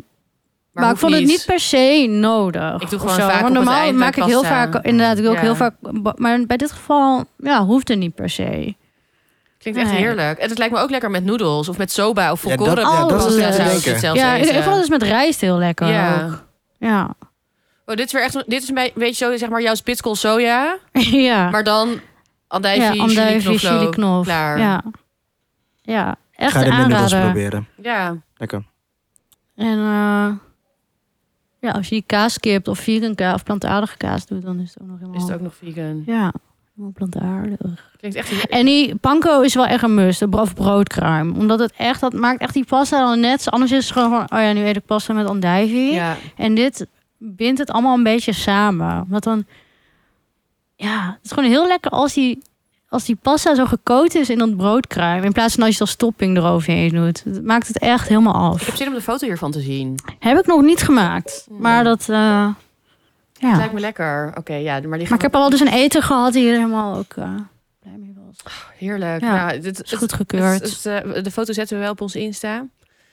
S2: Maar, ik
S1: hoeft
S2: vond het niet per se nodig.
S1: Ik doe
S2: of
S1: gewoon
S2: zo.
S1: vaak
S2: Want
S1: op het
S2: normaal
S1: eind bij
S2: maak ik heel
S1: kassa.
S2: vaak, inderdaad, ik doe ook
S1: Ja.
S2: heel vaak. Maar bij dit geval, ja, hoeft het niet per se.
S1: Klinkt echt
S2: Nee.
S1: heerlijk. En het lijkt me ook lekker met noedels of met soba of
S3: Ja, dat-
S1: volkoren.
S2: ja, dat is
S1: pasta
S2: wat ik
S1: zou ik
S3: denk.
S1: het zelfs
S2: ja, in
S1: eten.
S2: ieder geval is met rijst heel lekker.
S1: Ja.
S2: ook. Ja. [laughs]
S1: Oh, dit is weer echt, een- dit is een be- beetje zo, zeg maar, jouw spitskool soja.
S2: ja.
S1: Maar dan andijvie,
S2: ja,
S1: chili,
S2: andijvie,
S1: knoflook.
S2: chili knof.
S1: Klaar.
S2: Ja. ja, echt
S3: Ga
S2: een
S3: dit met noedels
S2: aanrader.
S3: proberen.
S1: Ja.
S3: Lekker.
S2: En eh, ja, als je die kaas kipt of vegan kaas of plantaardige kaas doet, dan is het ook nog helemaal...
S1: Is het ook nog vegan?
S2: Oh. Ja, helemaal plantaardig.
S1: Klinkt echt heerlijk.
S2: En die panko is wel echt een must, de bro- of broodkruim. Omdat het echt, dat maakt echt die pasta dan net... Anders is het gewoon van, oh ja, nu eet ik pasta met andijvie.
S1: Ja.
S2: En dit bindt het allemaal een beetje samen. Omdat dan... Ja, het is gewoon heel lekker als die, als die pasta zo gekoot is in dat broodkruim. In plaats van als je het als topping eroverheen doet. Het maakt het echt helemaal
S1: Ik
S2: af.
S1: heb zin om de foto hiervan te zien.
S2: Heb ik nog niet gemaakt. Maar dat... eh, ja.
S1: Lijkt me lekker. Oké, ja, maar die
S2: Maar ik heb al wel dus een eten gehad die hier helemaal ook eh, blij mee was.
S1: heerlijk.
S2: Ja,
S1: nou, dit
S2: Is goedgekeurd.
S1: het- het, eh, de foto zetten we wel op ons Insta.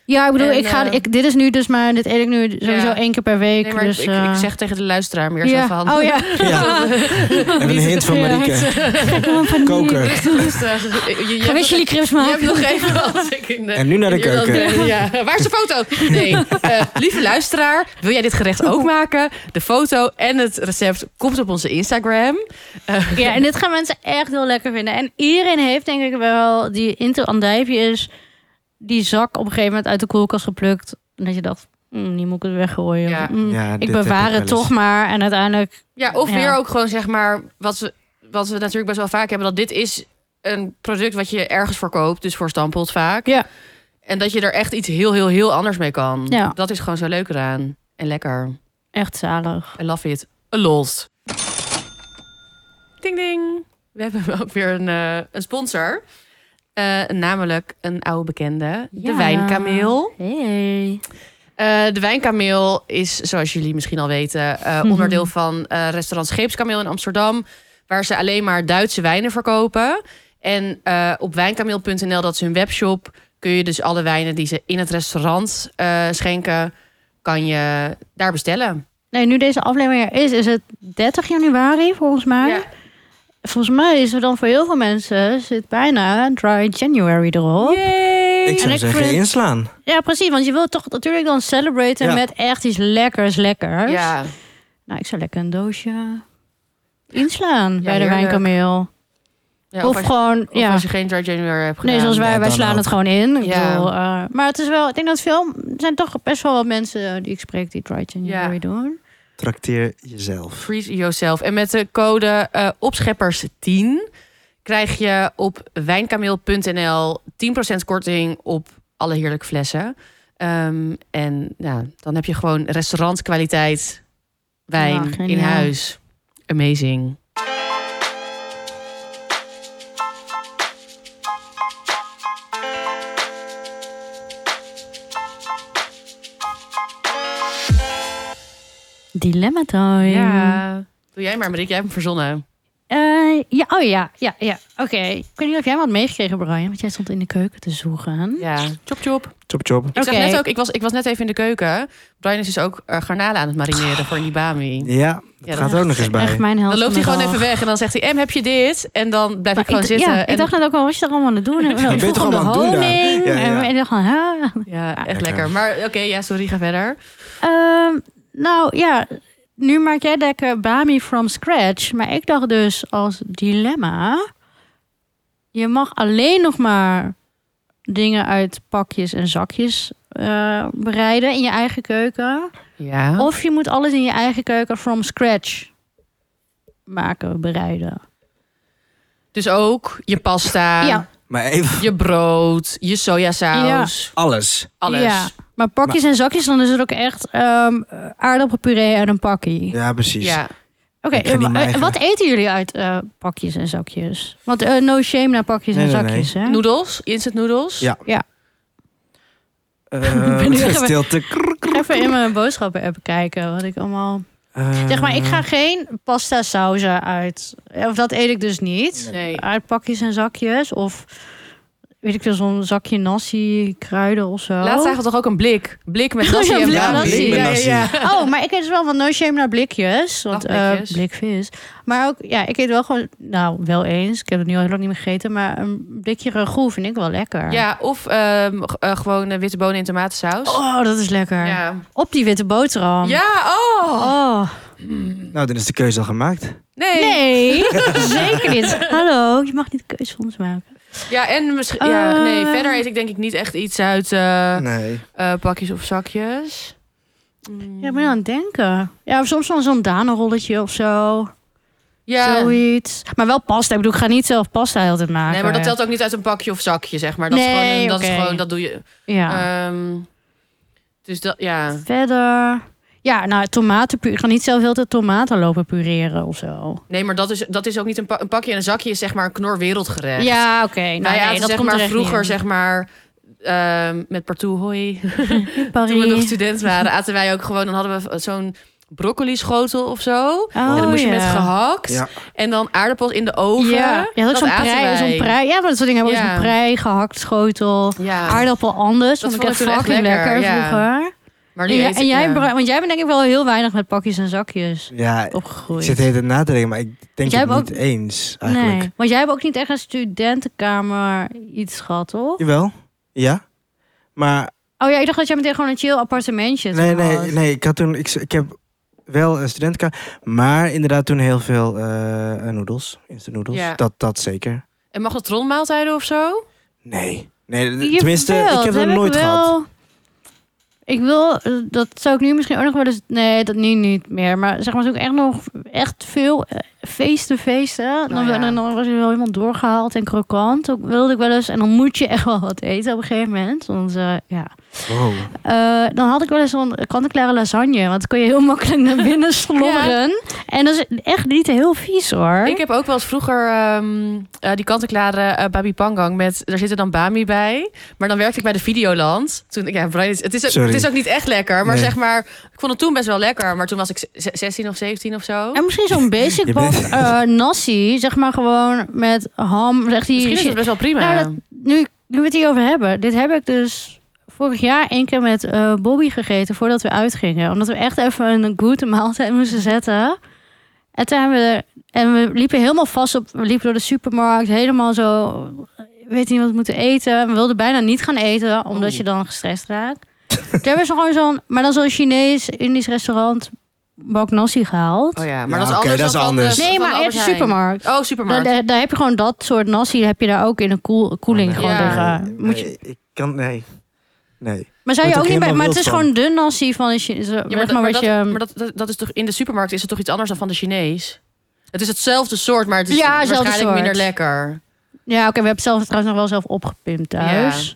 S2: Ja, ik bedoel,
S1: En,
S2: ik ga,
S1: eh,
S2: ik, dit is nu dus maar, dit eet ik nu sowieso
S1: Ja.
S2: één keer per week.
S1: Nee, maar
S2: dus,
S1: ik,
S2: eh,
S1: ik zeg tegen de luisteraar meer
S2: ja.
S1: zo van... [laughs]
S2: Oh ja.
S3: Ja. Even een hint van Marieke. Koken.
S1: Rustig, [laughs] rustig. Je- je- je
S2: Ga
S1: hebt
S2: weer
S1: nog-
S2: chili crisps
S1: Je hebt
S2: maken.
S1: nog even wat ik in de...
S3: En nu naar de
S1: in Ierland
S3: keuken.
S1: ben. [laughs] Ja. Waar is de foto? Nee. Eh, lieve luisteraar, wil jij dit gerecht ook maken? De foto en het recept komt op onze Instagram.
S2: Ja, en dit gaan mensen echt heel lekker vinden. En iedereen heeft denk ik wel, die into andijvie is, die zak op een gegeven moment uit de koelkast geplukt. En dat je dacht, mm, die moet ik het weggooien.
S1: Ja.
S2: Mm,
S3: [laughs] Ja, dit
S2: ik
S3: heb
S2: bewaar
S3: ik
S2: het
S3: wel eens.
S2: toch maar. En uiteindelijk,
S1: Ja, of
S2: Ja.
S1: weer ook gewoon zeg maar wat we, wat we natuurlijk best wel vaak hebben: dat dit is een product wat je ergens voor koopt, dus voor stampelt vaak.
S2: Ja.
S1: En dat je er echt iets heel, heel, heel anders mee kan.
S2: Ja.
S1: Dat is gewoon zo leuk eraan. En lekker.
S2: echt zalig.
S1: I love it. A lot. Ding, ding. We hebben [laughs] ook weer een, eh, een sponsor. Eh, namelijk een oude bekende, de
S2: Ja.
S1: Wijnkameel.
S2: Hey.
S1: Eh, de Wijnkameel is, zoals jullie misschien al weten, eh, onderdeel van eh, restaurant Scheepskameel in Amsterdam. Waar ze alleen maar Duitse wijnen verkopen. En eh, op wijnkameel.nl, dat is hun webshop, kun je dus alle wijnen die ze in het restaurant eh, schenken, kan je daar bestellen.
S2: Nee, nu deze aflevering er is, is het 30 januari volgens mij. Volgens mij is er dan voor heel veel mensen zit bijna dry January erop.
S1: Yay!
S3: Ik zou
S2: En ik
S3: zeggen
S2: vind-
S3: inslaan.
S2: Ja, precies. Want je wilt toch natuurlijk dan celebraten
S3: Ja.
S2: met echt iets lekkers, lekkers.
S1: Ja,
S2: Nou, ik zou lekker een doosje inslaan bij de
S1: heerlijk.
S2: wijnkameel.
S1: ja
S2: of
S1: of, als, je-
S2: gewoon,
S1: of
S2: ja.
S1: als je geen Dry January hebt gedaan.
S2: Nee, zoals wij,
S3: Ja,
S2: wij
S3: dan
S2: slaan
S3: ook.
S2: het gewoon in. Ik
S1: Ja.
S2: bedoel, eh, maar het is wel, ik denk dat veel, er zijn toch best wel wat mensen eh, die ik spreek die dry January
S1: Ja.
S2: doen.
S3: Trakteer jezelf.
S1: Freeze yourself. En met de code eh, opscheppers10 krijg je op wijnkameel.nl 10% korting op alle heerlijke flessen. Ehm, en ja, dan heb je gewoon restaurantkwaliteit
S2: Ja,
S1: wijn in
S2: geniaal.
S1: huis. Amazing.
S2: Dilemma time.
S1: Ja. Doe jij maar, Marieke. Jij hebt hem verzonnen.
S2: Eh, ja, oh ja, ja, ja. Oké. Ik weet niet of jij wat meegekregen, Brian, want jij stond in de keuken te zoeken.
S1: Ja. Chop, chop.
S3: Chop chop.
S1: Ik, zag
S2: Oké.
S1: net ook, ik, was, ik was net even in de keuken. Brian is dus ook eh, garnalen aan het marineren voor een Nibami.
S3: Ja,
S1: Ja,
S3: dat
S1: dat
S3: gaat ook nog eens bij.
S2: Echt mijn helft
S1: Dan loopt
S2: van
S1: hij
S2: de
S1: gewoon
S2: dag.
S1: even weg en dan zegt hij, Em, heb je dit? En dan blijf
S2: Maar
S1: ik gewoon
S2: d-
S1: zitten.
S2: Ja,
S1: en,
S2: ik dacht net ook al, wat is er allemaal aan het doen? En
S3: [laughs] je
S2: ik
S3: bent
S2: vroeg
S3: toch
S2: om de
S3: allemaal aan het doen daar?
S2: honing.
S3: Ja, ja.
S2: En ik dacht gewoon, hè?
S1: ja, echt lekker.
S3: Lekker.
S1: Maar oké, ja, sorry, ga verder.
S2: Ehm, nou ja, nu maak jij lekker Bami from scratch. Maar ik dacht dus als dilemma... Je mag alleen nog maar dingen uit pakjes en zakjes eh, bereiden in je eigen keuken.
S1: Ja.
S2: Of je moet alles in je eigen keuken from scratch maken, bereiden.
S1: Dus ook je pasta,
S2: ja,
S3: Maar even
S1: je brood, je sojasaus,
S3: alles.
S1: alles.
S2: Ja, maar pakjes en zakjes, dan is het ook echt ehm aardappelpuree uit een pakkie.
S3: Ja, precies.
S1: Ja.
S2: Oké,
S3: Ik ga niet
S2: eh,
S3: mijn
S2: eh,
S3: eigen-
S2: wat eten jullie uit eh, pakjes en zakjes? Want eh, no shame naar pakjes
S3: Nee,
S2: en
S3: nee,
S2: zakjes, hè?
S1: Noedels, instant noedels.
S3: Ja.
S2: [laughs] ben nu
S3: Eh
S2: even-
S3: stilte.
S2: Even in mijn boodschappen app kijken wat ik allemaal... Zeg maar, ik
S3: Eh.
S2: ga geen pasta Eh, sauzen uit... Of dat eet ik dus niet.
S1: Nee.
S2: Uit pakjes en zakjes of... weet ik veel, zo'n zakje nasi, kruiden of zo.
S1: Laatst zagen we toch ook een blik. Blik met nasi
S2: Oh. [laughs] Ja,
S1: en blaam.
S2: blik met nasi.
S1: Ja, ja, ja.
S2: [laughs] Oh, maar ik eet dus wel van no shame naar blikjes. Want
S1: Dag, blikjes.
S2: eh, blikvis. Maar ook, ja, ik eet wel gewoon, nou, wel eens. Ik heb het nu al heel lang niet meer gegeten. Maar een blikje ragout vind ik wel lekker.
S1: Ja, of ehm, g- eh, gewoon eh, witte bonen in tomatensaus.
S2: Oh, dat is lekker.
S1: ja.
S2: Op die witte boterham.
S1: ja, oh.
S2: Oh.
S3: Nou, dan is de keuze al gemaakt.
S1: Nee.
S2: Nee,
S1: [laughs]
S2: zeker niet. Hallo, je mag niet de keuze voor ons maken.
S1: Ja, en misschien... Ja, nee,
S2: Eh.
S1: verder eet ik denk ik niet echt iets uit eh,
S3: nee.
S1: eh, pakjes of zakjes. Mm.
S2: Ja, ik ben aan het denken. Ja, of soms wel zo'n danenrolletje of zo.
S1: Ja,
S2: Zoiets. Maar wel pasta. Ik bedoel, ik ga niet zelf pasta altijd maken.
S1: nee, maar dat telt ook niet uit een pakje of zakje, zeg maar. Dat is
S2: Nee,
S1: gewoon, een- dat is
S2: oké.
S1: gewoon, dat doe je.
S2: Ja.
S1: Ehm, dus dat, ja.
S2: Verder. Ja, nou, tomatenpuur. Ik ga niet zelf heel de tomaten lopen pureren of zo.
S1: Nee, maar dat is, dat is ook niet een, pa- een pakje en een zakje, is zeg maar een knor wereldgerecht.
S2: Ja, oké. Nou,
S1: Wij
S2: nee,
S1: aten,
S2: dat
S1: zeg
S2: komt
S1: maar
S2: er echt
S1: vroeger,
S2: niet
S1: zeg maar, ehm, met partout hoi.
S2: in.
S1: Toen we nog
S2: Paris.
S1: student waren, aten wij ook gewoon, dan hadden we zo'n broccoli schotel of zo. en
S2: Oh,
S1: dan moest je met
S2: ja.
S1: gehakt.
S3: Ja.
S1: En dan aardappels in de oven.
S2: Ja, je had ook zo'n
S1: aten
S2: prei,
S1: wij.
S2: zo'n prei. Ja, maar dat soort dingen. hebben we
S1: Ja.
S2: Zo'n prei, gehakt schotel.
S1: Ja.
S2: Aardappel anders.
S1: Dat
S2: Dat vond ik
S1: vond
S2: echt
S1: ik toen echt
S2: fucking
S1: lekker,
S2: lekker,
S1: ja.
S2: vroeger.
S1: Maar
S2: En,
S1: nu
S2: jij-
S1: eet
S2: en
S1: ik-
S2: jij,
S1: ja.
S2: bra- want jij bent denk ik wel heel weinig met pakjes en zakjes
S3: Ja, ik
S2: opgegroeid.
S3: zit de hele tijd na te denken, maar ik denk
S2: Jij
S3: het
S2: hebt
S3: niet eens eigenlijk.
S2: Nee, want jij hebt ook niet echt een studentenkamer iets gehad, toch?
S3: Jawel, ja. Maar
S2: Oh ja, ik dacht dat jij meteen gewoon een chill appartementje
S3: nee,
S2: toen
S3: nee,
S2: had.
S3: nee, ik had toen, ik, ik heb wel een studentenkamer, maar inderdaad toen heel veel eh eh, noedels, instant noedels.
S1: Ja.
S3: Dat, dat zeker.
S1: En magnetronmaaltijden of zo?
S3: Nee, nee, d-
S2: Je
S3: tenminste,
S2: verveelt.
S3: ik heb dat
S2: Heb
S3: nooit
S2: wel-
S3: gehad.
S2: Ik wil, eh, dat zou ik nu misschien ook nog wel eens... Nee, dat nu niet meer. Maar zeg maar, toen ik echt nog echt veel eh, feesten feesten... Dan,
S1: ja.
S2: dan, dan was je wel helemaal doorgehaald en krokant. Toen wilde ik wel eens... En dan moet je echt wel wat eten op een gegeven moment. Want eh, ja...
S3: Wow.
S2: Eh, dan had ik wel eens zo'n kant-en-klare lasagne. Want dan kon je heel [laughs] makkelijk naar binnen slobberen. En dat is echt niet heel vies hoor.
S1: Ik heb ook wel eens vroeger ehm, eh, die kant-en-klare eh, Babi Pangang met... Daar zit er dan Bami bij. Maar dan werkte ik bij de Videoland. Toen, ik- ja, Brian, is- het, is, ook-
S3: Sorry.
S1: het is ook niet echt lekker. Maar
S3: Nee.
S1: zeg maar, ik vond het toen best wel lekker. Maar toen was ik z- z- 16 of 17 of zo.
S2: En misschien zo'n basic
S3: [laughs] Je
S2: bak
S3: bent-
S2: eh, nasi, zeg maar gewoon met ham. Echt die
S1: Misschien is het best wel prima. Oh
S2: Nou, dat- nu, nu we het hierover hebben. Dit heb ik dus vorig jaar één keer met eh, Bobby gegeten voordat we uitgingen. Omdat we echt even een goede maaltijd moesten zetten. En toen hebben we, en we liepen helemaal vast op. We liepen door de supermarkt, helemaal zo. eh, Weet niet wat we moeten eten. We wilden bijna niet gaan eten, omdat
S1: Oh.
S3: Oeh.
S2: je dan gestrest raakt. [laughs] toen hebben we zo gewoon zo'n, maar dan zo'n Chinees-Indisch restaurant bak nasi gehaald.
S1: Oh ja, maar
S3: Ja,
S1: dat is
S3: oké,
S1: anders.
S3: dat is
S1: dan van
S3: anders.
S1: de-
S2: Nee,
S1: van de
S2: maar
S1: Albert
S2: echt een
S1: Heijn.
S2: supermarkt.
S1: Oh,
S2: Daar,
S1: supermarkt.
S2: daar, daar heb je gewoon dat soort nasi heb je daar ook in een
S1: Oh,
S2: koel, koeling
S3: Oh, Nee,
S2: gewoon
S1: Ja.
S2: liggen. Moet je,
S3: nee, ik kan, nee. Nee.
S2: maar zou je ook
S3: Wordt ook
S2: niet bij,
S3: helemaal
S2: maar het is
S3: wild van.
S2: gewoon de nasi van een Chine- zo-
S1: Ja,
S2: zeg
S1: maar, dat,
S2: maar
S1: maar,
S2: wat
S1: dat,
S2: je.
S1: maar dat, dat, dat is toch in de supermarkt is het toch iets anders dan van de Chinees? Het is hetzelfde soort, maar het is
S2: Ja, hetzelfde
S1: waarschijnlijk
S2: soort.
S1: minder lekker.
S2: Ja, oké, we hebben het zelf trouwens nog wel zelf opgepimpt thuis.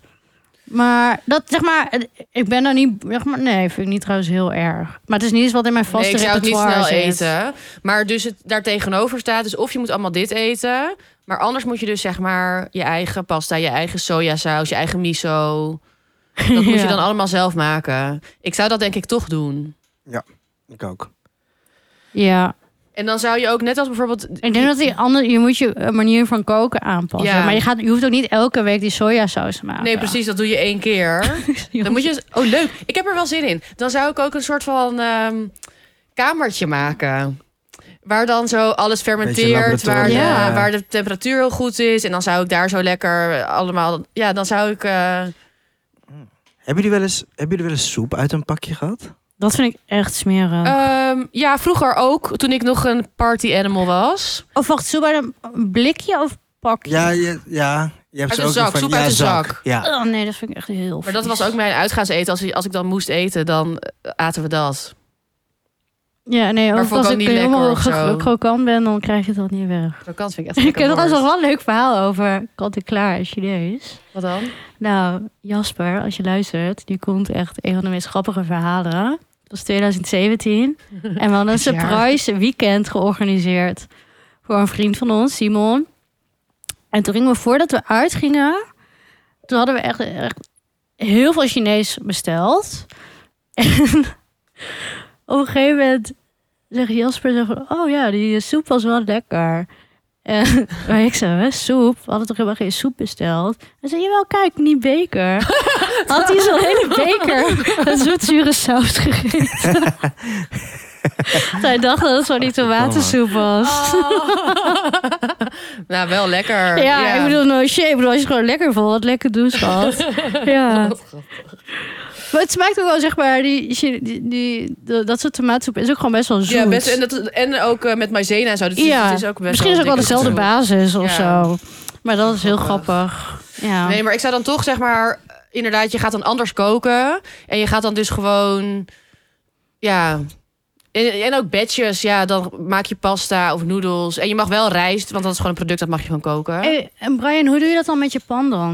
S2: Maar dat zeg maar, eh, ik ben daar niet, zeg maar, nee, vind ik niet trouwens heel erg. Maar het is niet eens wat in mijn vaste
S1: nee, ik zou het niet
S2: repertoire
S1: snel
S2: zit.
S1: eten. Maar dus het daar tegenover staat, dus of je moet allemaal dit eten, maar anders moet je dus zeg maar je eigen pasta, je eigen sojasaus, je eigen miso. Dat moet je
S2: [laughs] Ja.
S1: dan allemaal zelf maken. Ik zou dat denk ik toch doen.
S3: Ik ook.
S2: Ja,
S1: En dan zou je ook net als bijvoorbeeld
S2: ik denk dat die andere, je moet je eh, manier van koken aanpassen.
S1: Ja.
S2: Maar je, gaat, je hoeft ook niet elke week die sojasaus te maken.
S1: Nee,
S2: [laughs]
S1: precies, dat doe je één keer. Dan moet je... Oh, leuk. Ik heb er wel zin in. Dan zou ik ook een soort van ehm, kamertje maken. Waar dan zo alles fermenteert. Waar de,
S3: laboratorium, ja.
S1: waar de temperatuur heel goed is. En dan zou ik daar zo lekker allemaal... Ja, dan zou ik... eh,
S3: Hebben jullie wel eens, hebben jullie wel eens soep uit een pakje gehad?
S2: Dat vind ik echt smerig.
S1: ehm, ja, vroeger ook. Toen ik nog een party animal was.
S2: Of Oh, wacht, zo bij een blikje of pakje?
S3: Ja, ja, ja. Je hebt
S1: Uit
S3: ze
S1: een
S3: ook nog
S1: zak,
S3: van,
S1: soep
S3: ja,
S1: uit een
S3: zak.
S1: zak.
S3: Ja.
S2: Oh nee, dat vind ik echt heel
S1: Maar dat
S2: vies.
S1: was ook mijn uitgaanseten. Als, als ik dan moest eten, dan eh, aten we dat.
S2: Ja, nee,
S1: Maar
S2: ook
S1: vond ik
S2: als
S1: ook
S2: ik
S1: niet
S2: helemaal
S1: lekker of zo.
S2: gro- krokant ben, dan krijg je dat niet weg.
S1: Dat kan vind ik echt
S2: [laughs] Ik heb
S1: lekker
S2: trouwens nog
S1: woord.
S2: wel een leuk verhaal over kant-en-klaar Chinees.
S1: Wat dan?
S2: Nou, Jasper, als je luistert, die komt echt een van de meest grappige verhalen. Dat was 2017. En we hadden een
S1: Dit jaar.
S2: surprise weekend georganiseerd voor een vriend van ons, Simon. En toen gingen we, voordat we uitgingen, toen hadden we echt, echt heel veel Chinees besteld. [laughs] En eh, op een gegeven moment zegt Jasper, zo van, oh ja, die soep was wel lekker. Eh, [laughs] maar ik zei, hè, soep? We hadden toch helemaal geen soep besteld? Hij zei, jawel, kijk, die beker. Had hij zo'n hele beker met zoetzure saus gegeten. Hij dacht dat het van die tomatensoep was.
S1: [laughs] Oh. nou, wel lekker.
S2: Ja, ik bedoel, no shit. Ik bedoel, als je gewoon lekker vol wat lekker doen, schat. ja. Maar het smaakt ook wel, zeg maar, die, die, die, die- dat soort tomatensoep is ook gewoon best wel zoet.
S1: Ja, best, en, dat, en ook eh, met maizena en zo. Dus
S2: Ja,
S1: het is ook best
S2: Misschien is ook wel
S1: dikke
S2: dezelfde
S1: soep.
S2: basis of
S1: Ja.
S2: zo. Maar dat is heel grappig. Ja.
S1: Nee, maar ik zou dan toch zeg maar... eh, Inderdaad, je gaat dan anders koken. En je gaat dan dus gewoon... Ja... En, en ook batches. Ja, dan maak je pasta of noedels. En je mag wel rijst, want dat is gewoon een product dat mag je gewoon koken.
S2: Hey, en Brian, hoe doe je dat dan met je pan dan?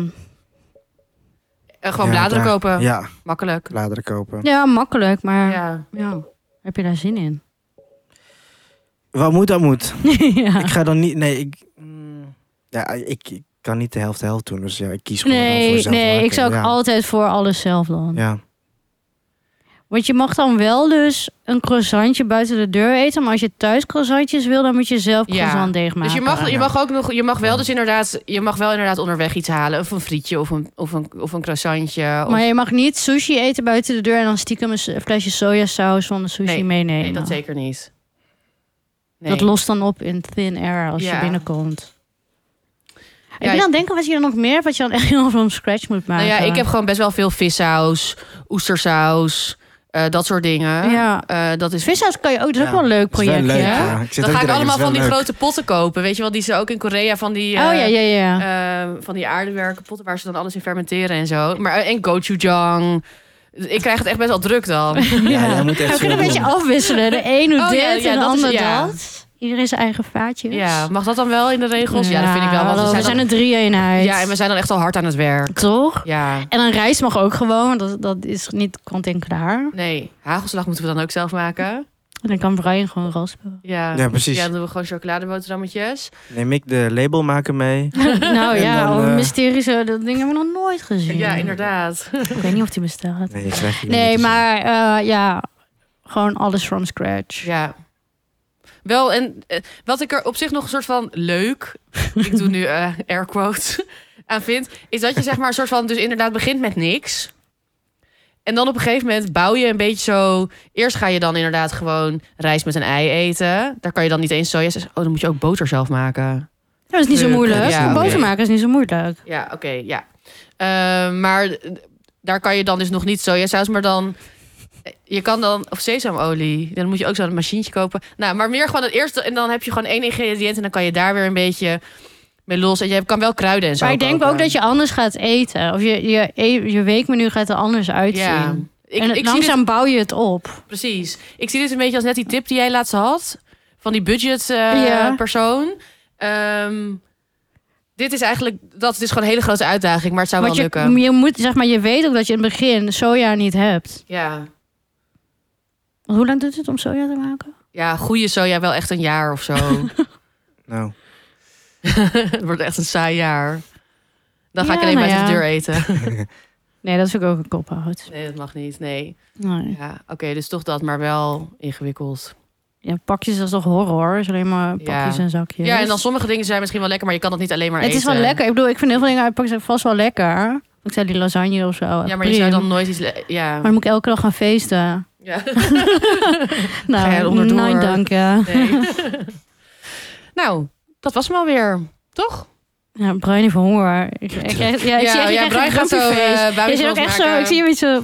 S1: En Eh, gewoon
S3: Ja,
S1: bladeren
S3: daar-
S1: kopen.
S3: Ja,
S1: Makkelijk.
S3: bladeren kopen.
S2: Ja, makkelijk, maar ja.
S1: Ja.
S2: heb je daar zin in?
S3: Wat moet, dat moet.
S2: ja.
S3: Ik ga dan niet. Nee, ik. mm, Ja, ik, ik kan niet de helft de helft doen. Dus ja, ik kies gewoon dan voor
S2: Nee,
S3: zelf
S2: nee,
S3: maken.
S2: ik zou ook
S3: ja.
S2: altijd voor alles zelf dan.
S3: Ja.
S2: Want je mag dan wel dus een croissantje buiten de deur eten. Maar als je thuis croissantjes wil, dan moet je zelf
S1: Ja.
S2: croissantdeeg maken.
S1: Dus je mag, je
S3: ja.
S1: mag ook nog, je mag wel dus inderdaad, je mag wel inderdaad onderweg iets halen. Of een frietje of een, of een, of een croissantje. Of,
S2: Maar je mag niet sushi eten buiten de deur en dan stiekem een s- een flesje sojasaus van de sushi
S1: Nee,
S2: meenemen.
S1: nee, dat zeker niet. Nee.
S2: Dat lost dan op in thin air als je
S1: Ja.
S2: binnenkomt. ik
S1: Ja,
S2: ben
S1: ik-
S2: aan het denken wat je dan nog meer, wat je dan echt helemaal van scratch moet maken.
S1: Nou ja, ik heb gewoon best wel veel vissaus, oestersaus, eh, dat soort dingen.
S2: Ja.
S1: Eh, dat is
S2: Vissaus kan je ook, dat is ook
S3: Ja.
S2: wel een leuk
S3: Het is wel
S2: project.
S3: leuk,
S2: hè?
S1: ja.
S3: Ik zit
S1: Dan
S3: ook
S1: ga ik
S3: direct,
S1: allemaal
S3: het is
S1: van die
S3: wel leuk.
S1: grote potten kopen. Weet je wel, die ze ook in Korea van die, eh,
S2: Oh ja, ja, ja.
S1: eh, van die aardewerken potten waar ze dan alles in fermenteren en zo. Maar, eh, en gochujang. Ik krijg het echt best wel druk dan.
S2: [laughs]
S3: Ja, jij moet echt
S2: we kunnen een
S3: veel
S2: beetje afwisselen. De een doet
S1: Oh,
S2: dit
S1: ja, ja,
S2: en de
S1: dat is-
S2: ander
S1: ja.
S2: dat. Iedereen zijn eigen vaatjes. Nou,
S1: Ja, mag dat dan wel in de regels? Ja, dat vind ik wel. Want
S2: we zijn,
S1: dan-
S2: een drie-eenheid.
S1: ja, en we zijn dan echt al hard aan het werk.
S2: Toch?
S1: Ja.
S2: En een rijst mag ook gewoon, want dat, dat is niet kant en klaar.
S1: Nee, hagelslag moeten we dan ook zelf maken.
S2: En dan kan Brian gewoon
S3: [laughs]
S2: raspen.
S1: Ja,
S3: Ja, precies.
S1: Ja, dan doen we gewoon chocoladeboterhammetjes.
S3: Neem ik de label maken mee.
S2: nou
S3: En
S2: ja,
S3: dan,
S2: over
S3: eh,
S2: mysterie zo, dat ding hebben we nog nooit gezien.
S1: Ja, inderdaad.
S2: Ik weet niet of die bestaat.
S3: Nee, ik krijg hier niet
S2: Nee,
S3: te zien.
S2: maar eh, ja, gewoon alles from scratch.
S1: Ja. Wel, en eh, wat ik er op zich nog een soort van leuk, [laughs] ik doe nu eh air quotes, [laughs] aan vind, is dat je zeg maar een soort van, dus inderdaad begint met niks. En dan op een gegeven moment bouw je een beetje zo. Eerst ga je dan inderdaad gewoon rijst met een ei eten. Daar kan je dan niet eens soja. Oh, dan moet je ook boter zelf maken.
S2: Dat is niet zo
S3: Ja,
S2: moeilijk.
S1: ja,
S2: boter
S1: oké.
S2: maken is niet zo moeilijk.
S1: Ja, oké, ja. Eh, maar d- daar kan je dan dus nog niet sojasaus, maar dan... Je kan dan, of sesamolie, dan moet je ook zo'n machientje kopen. Nou, maar meer gewoon het eerste, en dan heb je gewoon één ingrediënt... en dan kan je daar weer een beetje mee los. En je kan wel kruiden en zo
S2: Maar ik denk
S1: kopen.
S2: ook dat je anders gaat eten. Of je, je, e- je weekmenu gaat er anders uitzien.
S1: Ja, ik,
S2: en
S1: ik zie
S2: langzaam
S1: dit,
S2: bouw je het op.
S1: precies. Ik zie dit een beetje als net die tip die jij laatst had... van die budget eh,
S2: Ja.
S1: persoon. Ehm, dit is eigenlijk, dat is dus gewoon een hele grote uitdaging... maar het zou
S2: Want
S1: wel lukken.
S2: je, je, moet, zeg maar, je weet ook dat je in het begin soja niet hebt.
S1: Ja.
S2: Want Hoe lang doet het om soja te maken?
S1: ja, goede soja wel echt een jaar
S2: [laughs]
S1: of zo. [laughs]
S3: Nou,
S1: Het wordt echt een saai jaar. Dan ga
S2: Ja,
S1: ik alleen
S2: nou
S1: buiten de
S2: ja.
S1: deur eten.
S2: Nee, dat is ook een kop-out.
S1: Nee, dat mag niet. Nee.
S2: Nee.
S1: Ja, oké, dus toch dat, maar wel ingewikkeld.
S2: Ja, pakjes dat is toch horror? Is alleen maar pakjes
S1: Ja.
S2: en zakjes.
S1: Ja, en dan sommige dingen zijn misschien wel lekker, maar je kan dat niet alleen maar
S2: het
S1: eten.
S2: is wel lekker. Ik bedoel, ik vind heel veel dingen uit pakjes zijn vast wel lekker. Ik zei die lasagne of zo.
S1: Ja,
S2: echt
S1: maar je zou
S2: prima.
S1: dan nooit iets... le- Ja.
S2: Maar dan moet ik elke dag gaan feesten.
S1: ja. [laughs] Ga jij
S2: Nou,
S1: onderdoor?
S2: nee, dank je.
S1: Nee.
S2: [laughs]
S1: nou, dat was hem alweer. Toch?
S2: Ja, Brian heeft honger. Ik, ik, ja, ik zie echt, ik krijg
S1: Brian
S2: een
S1: gaat zo, eh,
S2: grumpyface.
S1: buikjes
S2: Je zit ook echt
S1: losmaken.
S2: zo, ik zie hem een beetje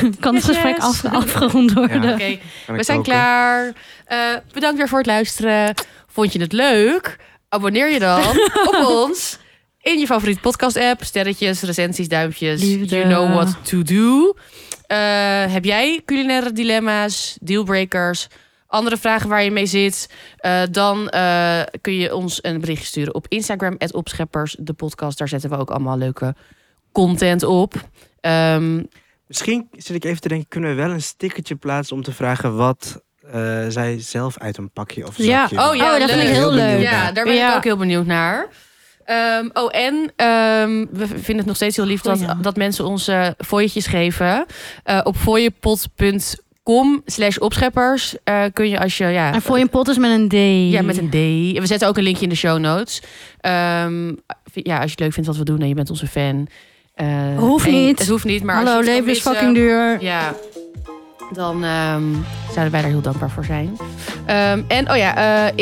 S2: zo... [laughs] hmm, kan het
S1: Yes,
S2: gesprek
S1: yes.
S2: af, afgerond worden?
S3: Ja.
S1: Oké,
S3: kan
S1: we zijn
S3: ik koken.
S1: klaar. Eh, bedankt weer voor het luisteren. Vond je het leuk? Abonneer je dan op ons in je favoriete podcast-app. Sterretjes, recensies, duimpjes.
S2: Liefde.
S1: You know what to do. Eh, heb jij culinaire dilemma's, dealbreakers, andere vragen waar je mee zit? Eh, dan eh, kun je ons een berichtje sturen op Instagram, opscheppers, de podcast. Daar zetten we ook allemaal leuke content op. Ehm,
S3: Misschien zit ik even te denken, kunnen we wel een stickertje plaatsen om te vragen wat eh, zij zelf uit een pakje of
S2: Ja,
S3: zakje
S1: oh ja,
S2: oh, dat vind ik
S1: leuk.
S2: heel
S3: Heel
S2: leuk.
S3: benieuwd.
S1: Ja, daar ben
S2: Ja.
S1: ik ook heel benieuwd naar. Ehm, oh, en ehm, we vinden het nog steeds heel lief dat,
S2: Goeie.
S1: dat mensen ons eh fooietjes geven. Eh, op fooiepot.com com slash opscheppers eh, kun je als je... Ja,
S2: En voor je pot is met een D.
S1: ja, met een D. We zetten ook een linkje in de show notes. Ehm, ja, als je het leuk vindt wat we doen en je bent onze fan. eh,
S2: Hoeft
S1: en-
S2: niet.
S1: Het hoeft niet, eh, maar
S2: Hallo,
S1: als je het
S2: leven is
S1: kan
S2: fucking
S1: missen,
S2: duur.
S1: [laughs] Ja, dan ehm, zouden wij daar heel dankbaar voor zijn. Ehm, en oh ja, eh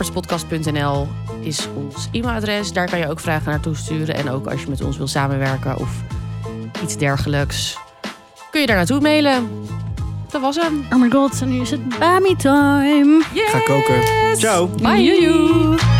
S1: info.opschepperspodcast.nl is ons e-mailadres. Daar kan je ook vragen naartoe sturen. En ook als je met ons wil samenwerken of iets dergelijks, kun je daar naartoe mailen. Dat was hem.
S2: Oh my god, en nu is het Bami time.
S1: Yes!
S3: Ga koken. Ciao.
S1: Bye.
S2: Joejoe.